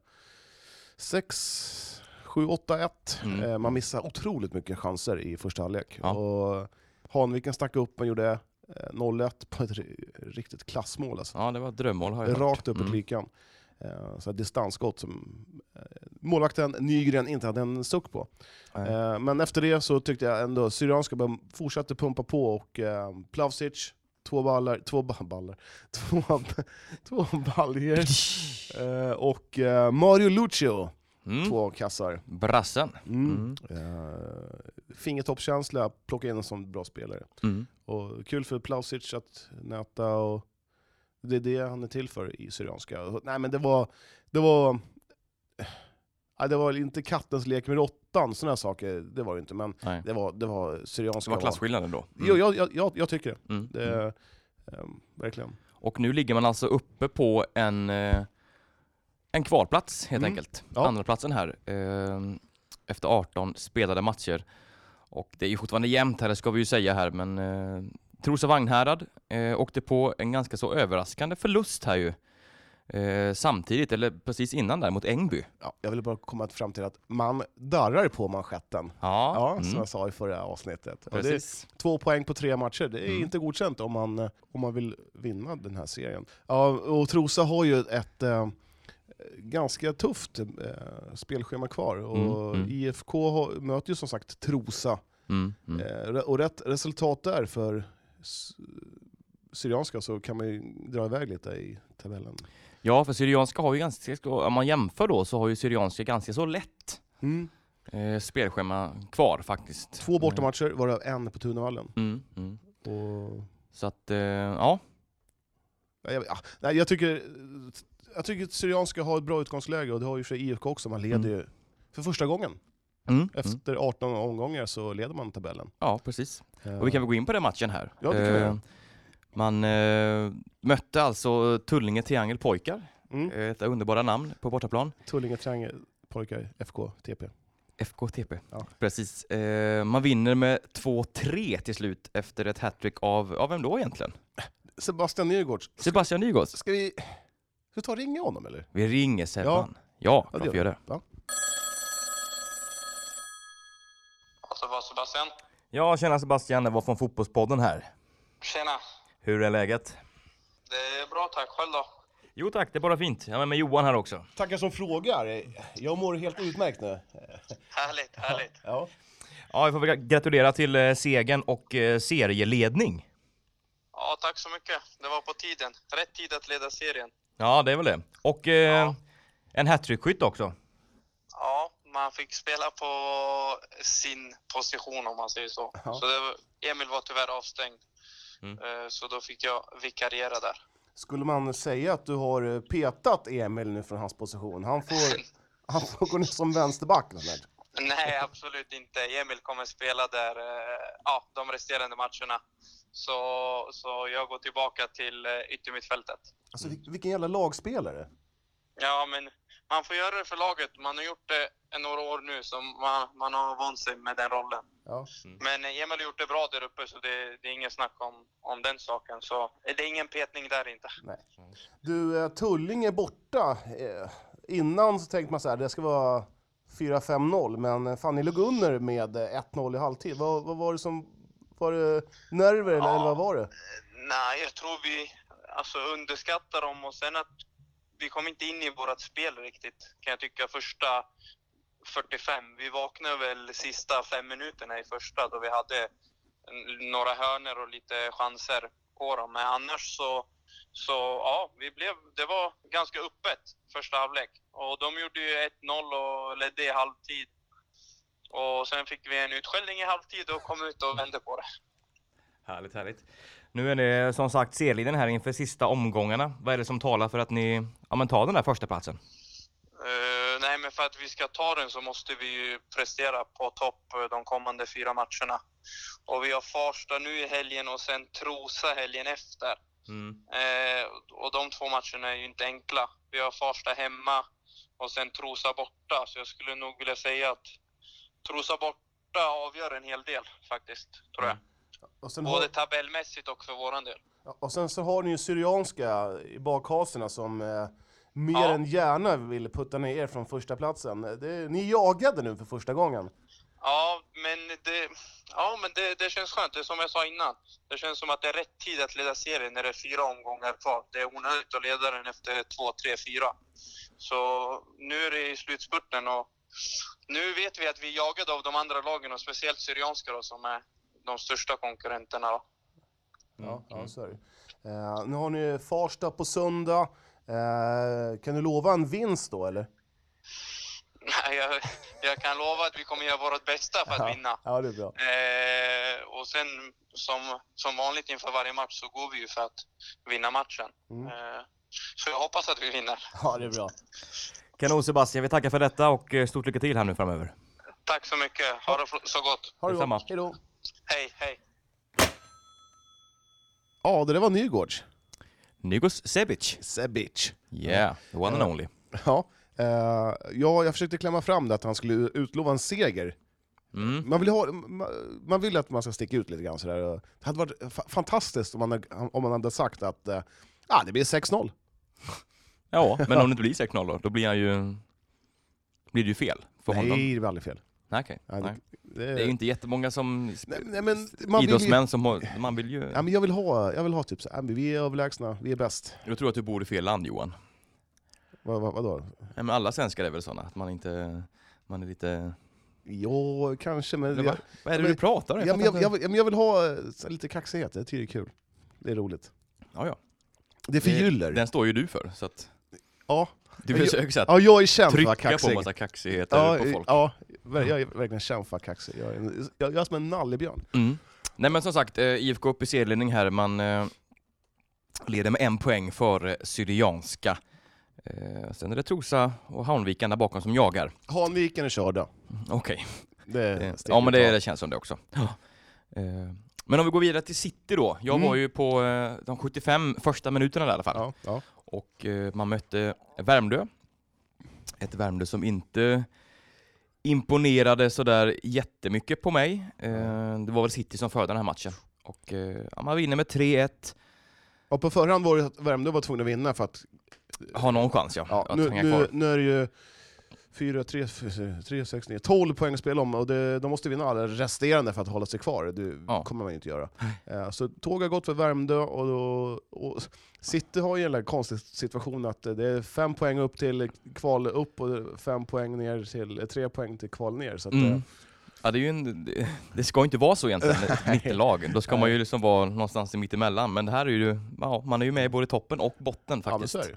Speaker 3: 6, 7, 8, 1.
Speaker 2: Mm.
Speaker 3: Eh, man missar otroligt mycket chanser i första halvlek.
Speaker 2: Ja.
Speaker 3: Och Hanviken stack upp och gjorde eh, 0-1 på ett ri- riktigt klassmål. Alltså.
Speaker 2: Ja, det var ett drömmål har jag hört.
Speaker 3: Rakt upp i
Speaker 2: Mm.
Speaker 3: klykan. Eh, så här distansskott som eh, målvakten Nygren inte hade en suck på.
Speaker 2: Nej.
Speaker 3: Eh, men efter det så tyckte jag ändå Syrianska bara fortsatte pumpa på och eh, Plavsic, två ballar, två ba- ballar, två, två baljer eh, och eh, Mario Lucio,
Speaker 2: Mm.
Speaker 3: två kassar.
Speaker 2: Brassen.
Speaker 3: Mm.
Speaker 2: Mm.
Speaker 3: Eh, fingertoppskänsla, plocka in en sån bra spelare.
Speaker 2: Mm.
Speaker 3: Och kul för Plausic att nöta och det är det han är till för i Syrianska. Och- Nej men det var, det var, ja, det var inte kattens lek med råttan, sådana saker, det var det inte. Men
Speaker 2: Nej.
Speaker 3: det var, det var
Speaker 2: Det
Speaker 3: Syrianska.
Speaker 2: var klasskillnaden då. Mm.
Speaker 3: Jo, jag, jag, jag, jag tycker det.
Speaker 2: Mm.
Speaker 3: det
Speaker 2: Mm.
Speaker 3: ehm, verkligen.
Speaker 2: Och nu ligger man alltså uppe på en, eh, en kvalplats helt
Speaker 3: Mm.
Speaker 2: enkelt.
Speaker 3: Ja.
Speaker 2: Andra platsen här. eh, Efter 18 spelade matcher. Och det är ju fortfarande jämnt här, det ska vi ju säga här, men eh, Trosa Vagnhärad eh, åkte på en ganska så överraskande förlust här ju. eh, samtidigt, eller precis innan där, mot Engby.
Speaker 3: Ja, jag ville bara komma fram till att man darrar på manschetten.
Speaker 2: Ja,
Speaker 3: Ja,
Speaker 2: mm,
Speaker 3: som jag sa i förra avsnittet. Och det är
Speaker 2: precis.
Speaker 3: två poäng på tre matcher, det är
Speaker 2: Mm.
Speaker 3: inte godkänt om man, eh, om man vill vinna den här serien. Ja, och Trosa har ju ett eh, ganska tufft eh, spelschema kvar. Och
Speaker 2: Mm, mm.
Speaker 3: IFK har, möter ju som sagt Trosa.
Speaker 2: Mm, mm.
Speaker 3: Eh, re- och rätt resultat där för s- Syrianska så kan man ju dra iväg lite i tabellen.
Speaker 2: Ja, för Syrianska har ju ganska, om man jämför då, så har ju Syrianska ganska så lätt eh, spelschema kvar faktiskt.
Speaker 3: Mm. Två bortamatcher, varav en på Tunavallen.
Speaker 2: Mm, mm.
Speaker 3: Och
Speaker 2: Så att, eh, ja.
Speaker 3: Nej, jag, ah, nej, jag tycker, jag tycker att Syrianska har ett bra utgångsläge och det har ju för sig IFK också. Man leder
Speaker 2: Mm.
Speaker 3: ju för första gången.
Speaker 2: Mm, mm.
Speaker 3: Efter 18 omgångar så leder man tabellen.
Speaker 2: Ja, precis.
Speaker 3: Eh,
Speaker 2: Och vi kan väl gå in på den matchen här.
Speaker 3: Ja, det kan vi
Speaker 2: Eh,
Speaker 3: göra.
Speaker 2: Man eh, mötte alltså Tullinge Triangel Pojkar, eh,
Speaker 3: mm.
Speaker 2: ett underbara namn på bortaplan.
Speaker 3: Tullinge Triangel, pojkar, FK, TP.
Speaker 2: FKTP.
Speaker 3: Ja.
Speaker 2: Precis. Eh, man vinner med 2-3 till slut efter ett hattrick av, av vem då egentligen?
Speaker 3: Sebastian Nygårds,
Speaker 2: Sebastian Nygårds.
Speaker 3: ska vi, ska vi ta och ringa honom eller?
Speaker 2: Vi ringer Sebban. Ja,
Speaker 3: Ja,
Speaker 2: ja
Speaker 3: det
Speaker 2: klart vi gör det.
Speaker 3: Ja.
Speaker 4: Och så var Sebastian.
Speaker 2: Ja, tjena Sebastian, det var från Fotbollspodden här.
Speaker 4: Tjena.
Speaker 2: Hur är läget?
Speaker 4: Det är bra tack. Själv då?
Speaker 2: Jo tack, det är bara fint. Jag är med Johan här också.
Speaker 3: Tackar som frågar. Jag mår helt utmärkt nu.
Speaker 4: Härligt, härligt.
Speaker 3: Ja.
Speaker 2: Ja, vi får väl gratulera till eh, segern och eh, serieledning.
Speaker 4: Ja, tack så mycket. Det var på tiden. Rätt tid att leda serien.
Speaker 2: Ja, det är väl det. Och eh,
Speaker 4: Ja.
Speaker 2: en hattrickskytt också.
Speaker 4: Ja, man fick spela på sin position om man säger så.
Speaker 3: Ja.
Speaker 4: så det var, Emil var tyvärr avstängd, Eh, så då fick jag vikariera där.
Speaker 3: Skulle man säga att du har eh, petat Emil nu från hans position? Han får, han får gå ner som vänsterback. Lennart.
Speaker 4: Nej, absolut inte. Emil kommer spela där eh, ja, de resterande matcherna. Så, så jag går tillbaka till eh, yttermittfältet.
Speaker 3: Alltså, vil- vilken jävla lagspelare.
Speaker 4: Ja, men man får göra det för laget. Man har gjort det i några år nu, så man, man har vant sig med den rollen.
Speaker 3: Ja.
Speaker 4: Men eh, Emil har gjort det bra där uppe, så det, det är ingen snack om, om den saken. Så det är ingen petning där inte.
Speaker 3: Nej. Du, eh, Tullinge är borta. Eh, Innan så tänkte man så här, det ska vara 4-5-0, men eh, fan ni låg under med eh, 1-0 i halvtid. Vad, vad var det som... Var det nerver eller,
Speaker 4: Ja.
Speaker 3: eller vad var det?
Speaker 4: Nej, jag tror vi alltså, underskattar dem och sen att vi kom inte in i vårt spel riktigt, kan jag tycka, första 45. Vi vaknade väl sista fem minuterna i första då vi hade n- några hörner och lite chanser på dem. Men annars så, så ja, vi blev, det var ganska öppet första halvlek. Och de gjorde ju 1-0 och ledde i halvtid. Och sen fick vi en utskällning i halvtid och kom ut och vände på det.
Speaker 2: Härligt, härligt. Nu är det som sagt serliden här inför sista omgångarna. Vad är det som talar för att ni ja, men tar den där första platsen?
Speaker 4: Eh, nej, men för att vi ska ta den så måste vi ju prestera på topp eh, de kommande fyra matcherna. Och vi har Farsta nu i helgen och sen Trosa helgen efter.
Speaker 2: Mm.
Speaker 4: Eh, och de två matcherna är ju inte enkla. Vi har Farsta hemma och sen Trosa borta, så jag skulle nog vilja säga att Trosa borta avgör en hel del faktiskt, tror jag.
Speaker 3: Och sen, har,
Speaker 4: Både tabellmässigt och för våran del.
Speaker 3: och sen så har ni ju Syrianska i bakhasorna som eh, mer
Speaker 4: Ja.
Speaker 3: än gärna vill putta ner er från första platsen. Eh, Det, ni är jagade nu för första gången.
Speaker 4: Ja, men, det, ja, men det, det känns skönt. Det är som jag sa innan. Det känns som att det är rätt tid att leda serien när det är fyra omgångar kvar. Det är onödigt att leda den efter två, tre, fyra. Så nu är det i slutspurten och nu vet vi att vi är jagade av de andra lagen och speciellt Syrianska då, som är de största konkurrenterna. Då.
Speaker 3: Ja, ja, så är det. Eh, nu har ni Farsta på söndag. Eh, kan du lova en vinst då eller?
Speaker 4: Nej, Jag, jag kan lova att vi kommer göra vårt bästa för att vinna.
Speaker 3: Ja, det är bra.
Speaker 4: Eh, och sen som, som vanligt inför varje match så går vi ju för att vinna matchen. Eh, så jag hoppas att vi vinner.
Speaker 3: Ja, det är bra.
Speaker 2: Kanon Sebastian, vi tackar för detta och eh, stort lycka till här nu framöver.
Speaker 4: Tack så mycket. Ha det fr- så gott.
Speaker 3: Ha det
Speaker 2: Detsamma.
Speaker 3: gott. Hej då.
Speaker 4: Hej, hej.
Speaker 3: Ja, det där var Nygårds.
Speaker 2: Nygos Sebic.
Speaker 3: Sebic.
Speaker 2: Yeah, the one and only.
Speaker 3: Ja, eh, ja, jag försökte klämma fram det att han skulle utlova en seger.
Speaker 2: Mm.
Speaker 3: Man vill, ha, man, man vill att man ska sticka ut lite grann sådär. Och Det hade varit fa- fantastiskt om man, hade- om man hade sagt att eh, ah, det blir 6-0.
Speaker 2: Ja, men om det inte blir 6-0 då, då blir han ju... Blir det ju fel för honom.
Speaker 3: Nej, det var aldrig fel.
Speaker 2: Nej, okej.
Speaker 3: Nej,
Speaker 2: Nej.
Speaker 3: Det,
Speaker 2: Det är ju inte jättemånga som...
Speaker 3: nej, nej, men man vill ju,
Speaker 2: idrottsmän som har... Man vill ju...
Speaker 3: ja, men jag, vill ha, jag vill ha typ så här, "Ja, men vi är överlägsna, vi är bäst.
Speaker 2: Jag tror att du bor i fel land Johan.
Speaker 3: Vad, vad, vadå?
Speaker 2: Nej, men alla svenskar är väl sådana, att man inte... Man är lite...
Speaker 3: Ja, kanske, men...
Speaker 2: Eller
Speaker 3: Jag,
Speaker 2: va? Vad är det
Speaker 3: men-
Speaker 2: du pratar om?
Speaker 3: ja, men
Speaker 2: fattar inte.
Speaker 3: jag, jag, ja, men jag vill ha eh, så här lite kaxighet, jag tycker det är kul. Det är roligt.
Speaker 2: Ja, ja.
Speaker 3: Det är för
Speaker 2: Det-
Speaker 3: gyller.
Speaker 2: Den står ju du för, så att...
Speaker 3: Ja.
Speaker 2: Du
Speaker 3: Men jag-
Speaker 2: försöker så att
Speaker 3: Ja, jag är känd för att vara
Speaker 2: trycka på
Speaker 3: kaxig.
Speaker 2: massa kaxigheter
Speaker 3: Ja, eh,
Speaker 2: på folk.
Speaker 3: ja, ver- jag är verkligen känd för att vara kaxig. Jag är, en, jag, jag är som en nallebjörn.
Speaker 2: Mm. Nej men som sagt, eh, IFK upp i serieledning här. Man eh, leder med en poäng för eh, Syrianska. Eh, sen är det Trosa och Hanviken där bakom som jagar.
Speaker 3: Hanviken är körda.
Speaker 2: Okej,
Speaker 3: Det är
Speaker 2: eh, ja
Speaker 3: steget
Speaker 2: men det,
Speaker 3: av.
Speaker 2: det känns som det också. Ja. Eh, men om vi går vidare till City då. Jag
Speaker 3: Mm.
Speaker 2: var ju på eh, de 75 första minuterna där i alla fall.
Speaker 3: Ja, ja.
Speaker 2: Och eh, man mötte Värmdö. Ett Värmdö som inte imponerade sådär jättemycket på mig. Eh, det var väl City som förde den här matchen. Och eh, ja, man vinner med 3-1.
Speaker 3: Och på förhand var det att Värmdö var tvungna att vinna för att...
Speaker 2: Har någon chans ja.
Speaker 3: Ja,
Speaker 2: att
Speaker 3: nu,
Speaker 2: hänga
Speaker 3: nu,
Speaker 2: kvar.
Speaker 3: nu är det ju 4, 3, 3, 6, 9, 12 poäng att spela om och det, de måste vinna alla resterande för att hålla sig kvar. Det
Speaker 2: Ja.
Speaker 3: kommer man ju inte göra. Eh, Så tåg har gått för Värmdö och, då, och City har ju en där konstig situation att eh, det är fem poäng upp till kval upp och fem poäng ner till, eh, tre poäng till kval ner. Så att, eh,
Speaker 2: Mm. Ja, det, är ju en, det- det ska ju inte vara så egentligen, ett mittellag. Då ska man ju liksom vara någonstans i mittemellan. Men det här är ju, ja, man är ju med i både toppen och botten
Speaker 3: ja, men
Speaker 2: faktiskt.
Speaker 3: så är det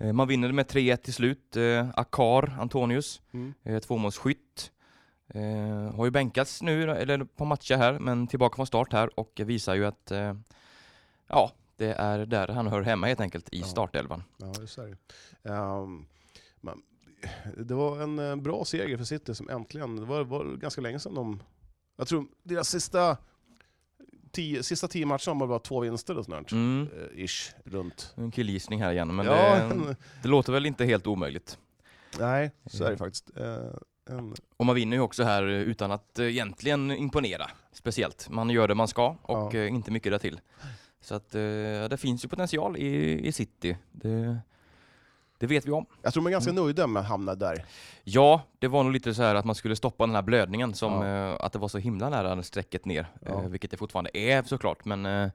Speaker 3: ju.
Speaker 2: Eh, Man vinner med 3-1 till slut. Eh, Akar Antonius,
Speaker 3: Mm.
Speaker 2: eh, tvåmålsskytt. Eh, har ju bänkats nu, eller på matcher här, men tillbaka från start här och visar ju att eh, ja, det är där han hör hemma helt enkelt i
Speaker 3: Ja.
Speaker 2: startelvan.
Speaker 3: Ja, det är så här. Ehm, man, det var en eh, bra seger för City som äntligen, det var, var ganska länge sedan de... Jag tror deras sista tio, sista tio matcherna var bara två vinster eller sånt. Mm.
Speaker 2: Mm.
Speaker 3: Ish, runt.
Speaker 2: En killgissning här igen, men
Speaker 3: ja,
Speaker 2: det,
Speaker 3: en,
Speaker 2: det låter väl inte helt omöjligt.
Speaker 3: nej, så är det faktiskt. Eh, en,
Speaker 2: Och man vinner ju också här eh, utan att eh, egentligen imponera speciellt. Man gör det man ska och
Speaker 3: Ja.
Speaker 2: eh, inte mycket där till. Så att eh, det finns ju potential i, i City. Det, det vet vi om.
Speaker 3: jag tror de är ganska
Speaker 2: Mm.
Speaker 3: nöjda med att hamna där.
Speaker 2: Ja, det var nog lite så här att man skulle stoppa den här blödningen som eh, att det var så himla nära strecket ner,
Speaker 3: Ja.
Speaker 2: eh, vilket det fortfarande är såklart, men eh,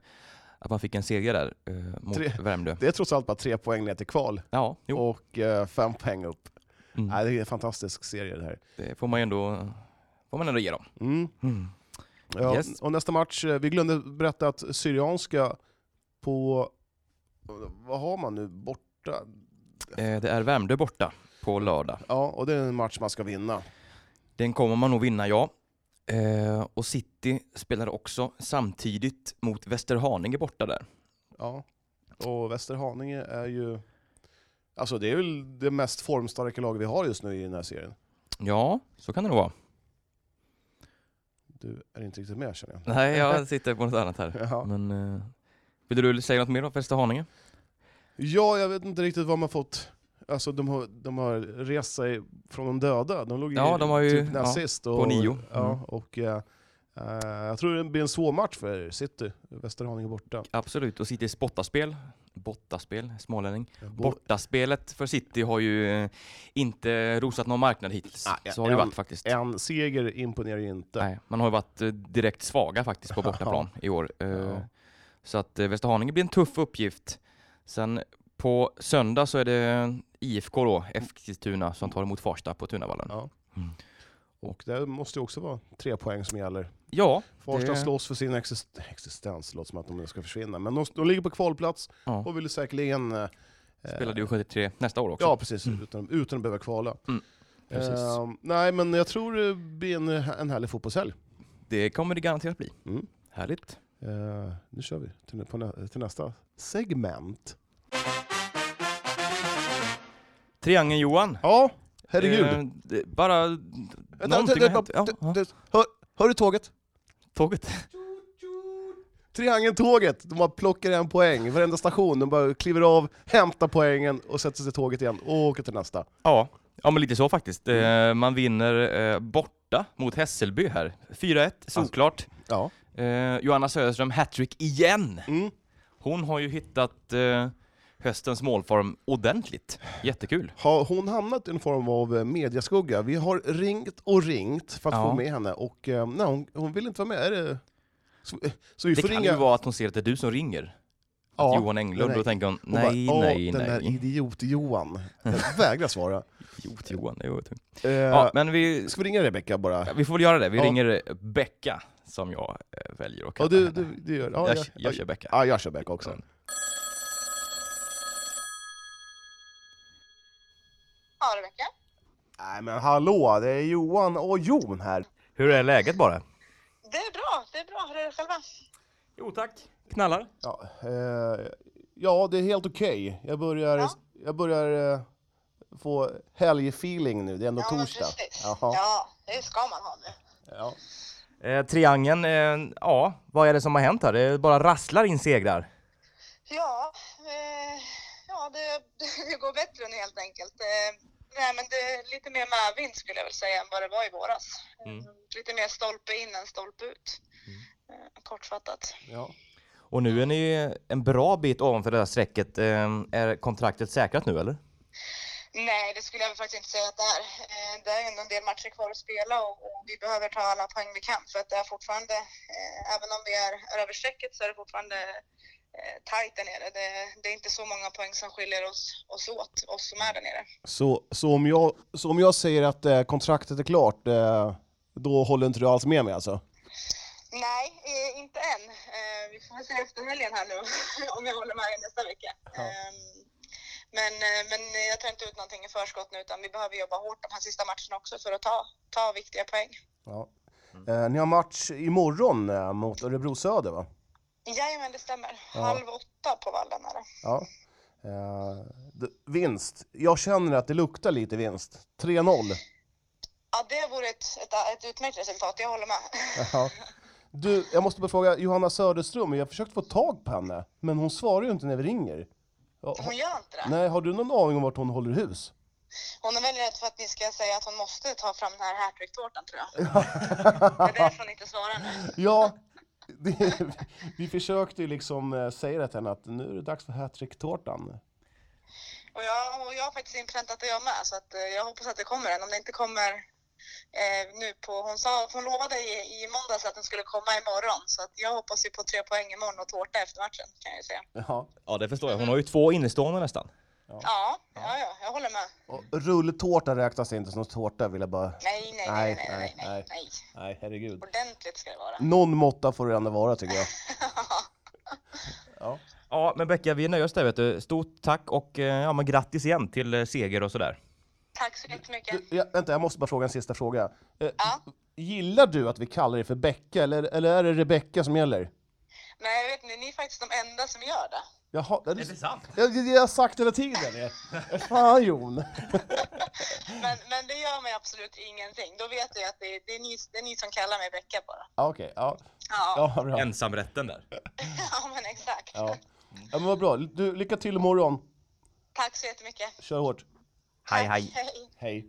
Speaker 2: att man fick en seger där eh, mot
Speaker 3: Tre.
Speaker 2: Värmdö.
Speaker 3: Det är trots allt bara tre poäng ner till kval
Speaker 2: Ja, jo,
Speaker 3: och eh, fem poäng upp.
Speaker 2: Mm.
Speaker 3: Nej, det är en fantastisk serie det här.
Speaker 2: det får man ju ändå, får man ändå ge dem.
Speaker 3: Mm.
Speaker 2: Mm.
Speaker 3: Ja,
Speaker 2: Yes.
Speaker 3: Och nästa match, eh, vi glömde berätta att Syrianska på, vad har man nu, borta?
Speaker 2: Eh, det är Värmdö borta på lördag.
Speaker 3: Ja, och det är en match man ska vinna.
Speaker 2: Den kommer man nog vinna, ja. Eh, och City spelar också samtidigt mot Västerhaninge borta där.
Speaker 3: Ja. Och Västerhaninge är ju, alltså det är väl det mest formstarka lag vi har just nu i den här serien.
Speaker 2: Ja, så kan det nog vara.
Speaker 3: Du är inte riktigt med känner jag.
Speaker 2: Nej, jag sitter på något annat här.
Speaker 3: Ja.
Speaker 2: Men, eh, vill du säga något mer om Västerhaninge?
Speaker 3: ja, jag vet inte riktigt vad man fått, alltså de har, de har rest sig från de döda. De låg ju
Speaker 2: Ja, de har ju-
Speaker 3: typ näst
Speaker 2: ja,
Speaker 3: sist.
Speaker 2: på nio.
Speaker 3: Ja,
Speaker 2: Mm.
Speaker 3: och eh, eh, jag tror det blir en svår match för City, Västerhaninge borta.
Speaker 2: Absolut, och Citys bottaspel, bottaspel, smålänning.
Speaker 3: Bo-
Speaker 2: Bortaspelet för City har ju eh, inte rosat någon marknad hittills.
Speaker 3: Ah, ja,
Speaker 2: så har det
Speaker 3: en-
Speaker 2: varit faktiskt.
Speaker 3: En seger imponerar ju inte.
Speaker 2: Nej, man har ju varit eh, direkt svaga faktiskt på bortaplan i år. Eh,
Speaker 3: Ja.
Speaker 2: Så att eh, Västerhaninge blir en tuff uppgift. Sen på söndag så är det eh, IFK då, Eskilstuna, som tar emot Farsta på Tunavallen.
Speaker 3: Ja.
Speaker 2: Mm.
Speaker 3: Och det måste ju också vara tre poäng som gäller.
Speaker 2: Ja,
Speaker 3: Farsta
Speaker 2: Det-
Speaker 3: slåss för sin exist- existens, låter som att de ska försvinna. Men de, de ligger på kvalplats
Speaker 2: Ja.
Speaker 3: och vill säkerligen... Eh,
Speaker 2: spelar du 73 nästa år också?
Speaker 3: Ja, precis. Utan, utan att behöva kvala.
Speaker 2: Mm, precis.
Speaker 3: Ehm, nej, men jag tror det blir en, en härlig fotbollshelg.
Speaker 2: Det kommer det garanterat bli.
Speaker 3: Mm.
Speaker 2: Härligt.
Speaker 3: Ehm, nu kör vi till, på nä- till nästa segment.
Speaker 2: Triangeln Johan.
Speaker 3: Ja, herregud.
Speaker 2: Eh, det- bara
Speaker 3: Vänta,
Speaker 2: någonting
Speaker 3: vänta,
Speaker 2: har hänt. Ja,
Speaker 3: vänta,
Speaker 2: ja.
Speaker 3: vänta. Hör, hör du tåget?
Speaker 2: Tåget.
Speaker 3: Triangeln tåget, de bara plockar en poäng varenda station. De bara kliver av, hämtar poängen och sätter sig i tåget igen och åker till nästa.
Speaker 2: Ja. ja, men lite så faktiskt. Eh, Man vinner eh, borta mot Hässelby här. 4-1,
Speaker 3: Alltså,
Speaker 2: såklart.
Speaker 3: Ja.
Speaker 2: Eh, Johanna Söderström hattrick igen!
Speaker 3: Mm.
Speaker 2: Hon har ju hittat eh, höstens målform ordentligt. Jättekul.
Speaker 3: Har hon hamnat i en form av eh, mediaskugga? Vi har ringt och ringt för att
Speaker 2: Ja.
Speaker 3: få med henne och eh, nej, hon, hon vill inte vara med. Är det... Så, eh, så vi
Speaker 2: Det
Speaker 3: får
Speaker 2: kan
Speaker 3: ringa...
Speaker 2: ju vara att hon ser att det är du som ringer.
Speaker 3: Ja.
Speaker 2: Johan Englund,
Speaker 3: nej.
Speaker 2: då tänker hon
Speaker 3: Hon bara,
Speaker 2: nej,
Speaker 3: "Åh,
Speaker 2: nej,
Speaker 3: den där
Speaker 2: nej.
Speaker 3: idiot-Johan. Jag vägrar svara.
Speaker 2: Idiot Johan, det var tungt.
Speaker 3: Eh,
Speaker 2: Ja, men vi,
Speaker 3: Ska vi ringa Rebecka bara?
Speaker 2: vi får väl göra det. Vi
Speaker 3: Ja.
Speaker 2: ringer eh, Becka, som jag eh, väljer att
Speaker 3: Ja,
Speaker 2: kalla
Speaker 3: du,
Speaker 2: henne.
Speaker 3: du, du gör ja,
Speaker 2: Jag, jag kör Mm. Becka.
Speaker 3: Ja, jag kör Becka också.
Speaker 5: Ja, Rebecka.
Speaker 3: Nej men hallå, det är Johan och Jon här.
Speaker 2: Hur är läget bara?
Speaker 5: Det är bra, det är bra. Hur är det själva?
Speaker 2: Jo tack. Knallar?
Speaker 3: Ja, eh, ja det är helt okej. Jag börjar,
Speaker 5: Ja.
Speaker 3: jag börjar eh, få helgfeeling nu, det är ändå
Speaker 5: ja, men
Speaker 3: torsdag.
Speaker 5: precis.
Speaker 3: Jaha,
Speaker 5: Ja, det ska man ha nu.
Speaker 3: ja.
Speaker 2: Eh, triangeln, eh, ja, vad är det som har hänt här? Det bara rasslar in segrar.
Speaker 5: Ja, eh, ja det, det går bättre nu helt enkelt. Eh, nej, men det är lite mer med vind skulle jag väl säga än vad det var i våras. Eh,
Speaker 3: Mm.
Speaker 5: Lite mer stolpe in än stolpe ut. Eh, kortfattat.
Speaker 3: ja.
Speaker 2: Och nu är ni en bra bit ovanför det där strecket. Eh, är kontraktet säkrat nu eller?
Speaker 5: Nej, det skulle jag väl faktiskt inte säga att det är. Eh, Det är ju ändå en del matcher kvar att spela och, och vi behöver ta alla poäng vi kan för att det är fortfarande, eh, även om vi är är över strecket så är det fortfarande eh, tajt där nere. Det, det är inte så många poäng som skiljer oss, oss åt, oss som är där nere.
Speaker 3: Så, så, om jag, så om jag säger att eh, kontraktet är klart, eh, då håller inte du alls med mig alltså?
Speaker 5: Nej, eh, inte än. Eh, vi får väl se efter helgen här nu om jag håller med dig nästa vecka. Ehm, men, eh, men jag tar inte ut någonting i förskott nu utan vi behöver jobba hårt de här sista matcherna också för att ta, ta viktiga poäng.
Speaker 3: Ja.
Speaker 5: Mm.
Speaker 3: Eh, ni har match imorgon eh, mot Örebro Söder va?
Speaker 5: Jajamän, det stämmer. Halv åtta på vallen är det.
Speaker 3: Ja. Eh, d- vinst. Jag känner att det luktar lite vinst. 3-0.
Speaker 5: Ja, det vore ett, ett, ett utmärkt resultat, jag håller med.
Speaker 3: Ja. Du, jag måste bara fråga, Johanna Söderström, jag har försökt få tag på henne, men hon svarar ju inte när vi ringer. Ja, ha,
Speaker 5: Hon gör inte det.
Speaker 3: nej, har du någon aning om vart hon håller hus?
Speaker 5: Hon är väl rädd för att ni ska säga att hon måste ta fram den här hattricktårtan tror jag. Det är därför hon inte svarar nu.
Speaker 3: Ja, det, vi försökte ju liksom eh, säga det till henne att nu är det dags för hattrick-tårtan.
Speaker 5: Och jag, och jag har faktiskt inpräntat det jag med, så att, eh, jag hoppas att det kommer en. Om det inte kommer eh, nu på... Hon, sa, hon lovade i, i måndags att den skulle komma imorgon, så att jag hoppas ju på tre poäng imorgon och tårta efter matchen kan jag ju säga.
Speaker 3: Ja.
Speaker 2: Ja det förstår jag. Hon har ju två innestående nästan.
Speaker 5: Ja, ja, ja, jag håller med.
Speaker 3: Och rulltårta räknas inte som tårta vill jag bara...
Speaker 5: Nej, nej, nej, nej, nej,
Speaker 3: nej, nej.
Speaker 5: nej, Mm. nej.
Speaker 3: Nej, herregud.
Speaker 5: Ordentligt ska det vara.
Speaker 3: Någon måtta får det ändå vara tycker jag. Ja.
Speaker 2: Ja men Becka vi nöjer oss där vet du. Stort tack och eh, ja, men grattis igen till eh, seger och sådär.
Speaker 5: Tack så jättemycket.
Speaker 3: Du, jag, vänta, jag måste bara fråga en sista fråga. Eh,
Speaker 5: Ja.
Speaker 3: Gillar du att vi kallar dig för Becka, eller, eller är det Rebecka som gäller?
Speaker 5: Nej, jag vet inte, ni är faktiskt de enda som gör det.
Speaker 3: Jaha, är det,
Speaker 2: sant?
Speaker 3: jag, det jag har sagt hela tiden! Fan Jon!
Speaker 5: Men, men det gör mig absolut ingenting. Då vet jag att det är, det är, ni, det är ni som kallar mig Becka bara.
Speaker 3: Ja, Okej, ja.
Speaker 5: Ja,
Speaker 3: Ja, bra.
Speaker 2: Ensamrätten där.
Speaker 5: ja men exakt.
Speaker 3: Ja. ja, men vad bra. Du, lycka till imorgon.
Speaker 5: Tack så jättemycket.
Speaker 3: Kör hårt.
Speaker 2: Hej
Speaker 5: Tack,
Speaker 2: hej.
Speaker 5: hej.
Speaker 3: Hej.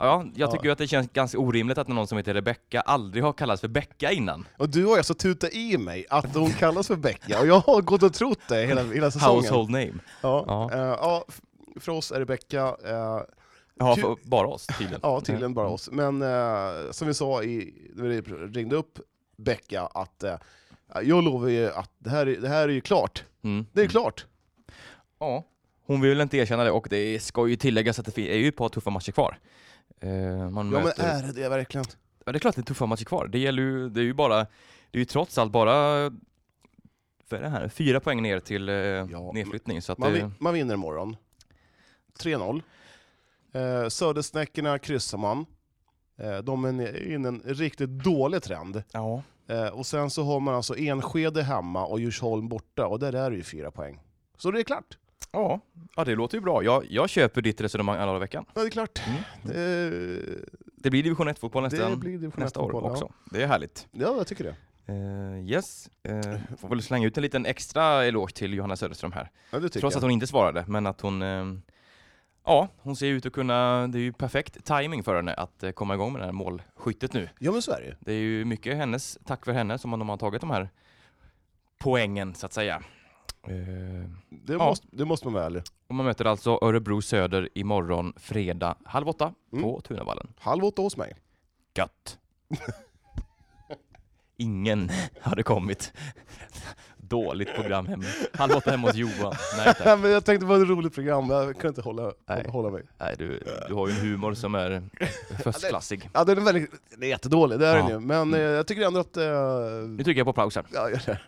Speaker 2: Ja, jag tycker ju att det känns ganska orimligt att någon som heter Rebecka aldrig har kallats för Becka innan.
Speaker 3: Och du har alltså tutat i mig att hon kallas för Becka, och jag har gått och trott det hela, hela
Speaker 2: Household name.
Speaker 3: Ja,
Speaker 2: Ja.
Speaker 3: eh, ja, f- för oss är det Becka. eh,
Speaker 2: Ja,
Speaker 3: Kul.
Speaker 2: för bara oss tydligen.
Speaker 3: Ja, tydligen bara oss. Men eh, som vi sa i, när vi ringde upp Becka, att eh, jag lovar ju att det här, är- det här är ju klart.
Speaker 2: Mm.
Speaker 3: Det är klart.
Speaker 2: Ja, hon vill inte erkänna det och det ska ju tilläggas att det fin- är ju ett par tuffa matcher kvar. Eh, Man
Speaker 3: Ja, men
Speaker 2: möter...
Speaker 3: är det det verkligen?
Speaker 2: ja, det är klart det är tuffa matcher kvar. Det gäller ju, det är ju bara, det är ju trots allt bara vad är det här? fyra poäng ner till eh, nedflyttning. Så att
Speaker 3: Man,
Speaker 2: det,
Speaker 3: vin, man vinner imorgon. 3-0. Eh, Södersnäckorna kryssar man. Eh, de är inne i en riktigt dålig trend.
Speaker 2: ja.
Speaker 3: Eh, och sen så har man alltså Enskede hemma och Djursholm borta, och där är det ju fyra poäng. Så det är klart.
Speaker 2: Ja. ja, det låter ju bra. Jag, jag köper ditt resonemang alla dagar i veckan.
Speaker 3: Ja, det är klart.
Speaker 2: Mm.
Speaker 3: Det,
Speaker 2: Det blir division 1-fotboll nästa,
Speaker 3: det blir division
Speaker 2: nästa år
Speaker 3: fotboll, ja.
Speaker 2: också. Det är härligt.
Speaker 3: Ja, jag tycker det.
Speaker 2: Eh, yes, Eh, får väl slänga ut en liten extra eloge till Johanna Söderström här.
Speaker 3: Ja, det tycker
Speaker 2: Trots
Speaker 3: jag.
Speaker 2: att hon inte svarade, men att hon... eh, ja, hon ser ut att kunna... Det är ju perfekt timing för henne att eh, komma igång med det här målskyttet nu.
Speaker 3: Ja men så är det ju.
Speaker 2: Det är ju mycket hennes, tack för henne, som de har tagit de här poängen, så att säga. Eh,
Speaker 3: Det,
Speaker 2: Ja.
Speaker 3: måste, det måste man vara ärlig.
Speaker 2: och man möter alltså Örebro Söder imorgon fredag halv åtta
Speaker 3: Mm.
Speaker 2: på Tunavallen.
Speaker 3: Halv åtta hos mig.
Speaker 2: Gött! Ingen hade kommit. Dåligt program hemma. Halv åtta hemma hos Johan. Nej tack.
Speaker 3: Men jag tänkte det var ett roligt program, jag kunde inte hålla,
Speaker 2: Nej.
Speaker 3: hålla mig.
Speaker 2: Nej, du, du har ju en humor som är förstklassig.
Speaker 3: Ja, den är, väldigt, den är jättedålig, det är
Speaker 2: Ja. Mm.
Speaker 3: den ju. Men eh, jag tycker ändå att... Eh,
Speaker 2: Nu trycker jag på paus här.
Speaker 3: ja, gör
Speaker 2: Eh,
Speaker 3: det.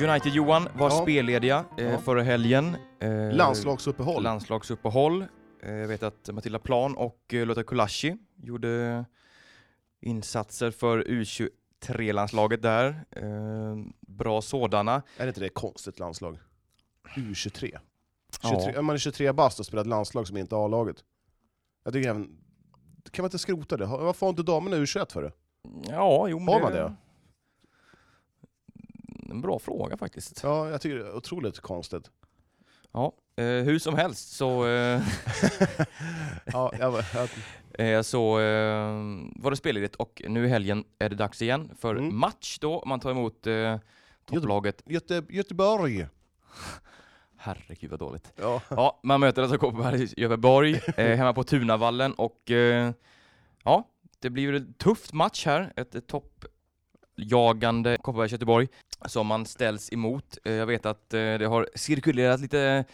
Speaker 2: United-Johan var
Speaker 3: Ja.
Speaker 2: spellediga eh,
Speaker 3: Ja.
Speaker 2: förra helgen. Eh,
Speaker 3: Landslagsuppehåll.
Speaker 2: Landslagsuppehåll. Eh, jag vet att Matilda Plan och eh, Lotta Kulashi gjorde insatser för U23-landslaget där. Eh, bra sådana.
Speaker 3: Är inte det ett konstigt landslag? U23.
Speaker 2: Ja.
Speaker 3: 23 Om man är 23 bast och spelar ett landslag som inte är A-laget. Jag tycker även... Kan man inte skrota det? Har- Varför har inte damerna U21 för det?
Speaker 2: Ja, jo men Mm,
Speaker 3: Har man det?
Speaker 2: En bra fråga faktiskt.
Speaker 3: Ja, jag tycker det är otroligt konstigt.
Speaker 2: Ja. Eh, hur som helst så eh,
Speaker 3: Ja, jag, jag,
Speaker 2: Eh, Så eh, var det spelledigt och nu i helgen är det dags igen för
Speaker 3: Mm.
Speaker 2: match då. Man tar emot eh, topplaget.
Speaker 3: Göte, Göteborg!
Speaker 2: Herregud vad dåligt.
Speaker 3: Ja.
Speaker 2: Ja, man möter alltså Kopparberg Göteborg eh, hemma på Tunavallen och eh, ja, det blir ju en tufft match här. Ett, ett toppjagande Kopparberg Göteborg som man ställs emot. Eh, jag vet att eh, det har cirkulerat lite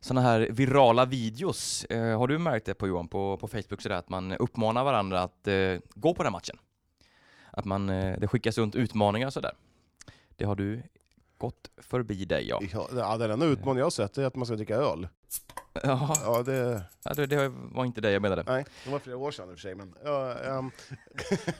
Speaker 2: sådana här virala videos. Eh, har du märkt det på Johan på, på Facebook sådär att man uppmanar varandra att eh, gå på den matchen? Att man, eh, det skickas runt utmaningar och sådär. Det har du gått förbi dig ja.
Speaker 3: Ja, ja, den enda utmaningen jag har sett är att man ska dricka öl.
Speaker 2: ja
Speaker 3: Ja, det,
Speaker 2: Ja, det, det var inte det jag menade.
Speaker 3: nej, det var flera år sedan i och för sig, men... Ja, ehm,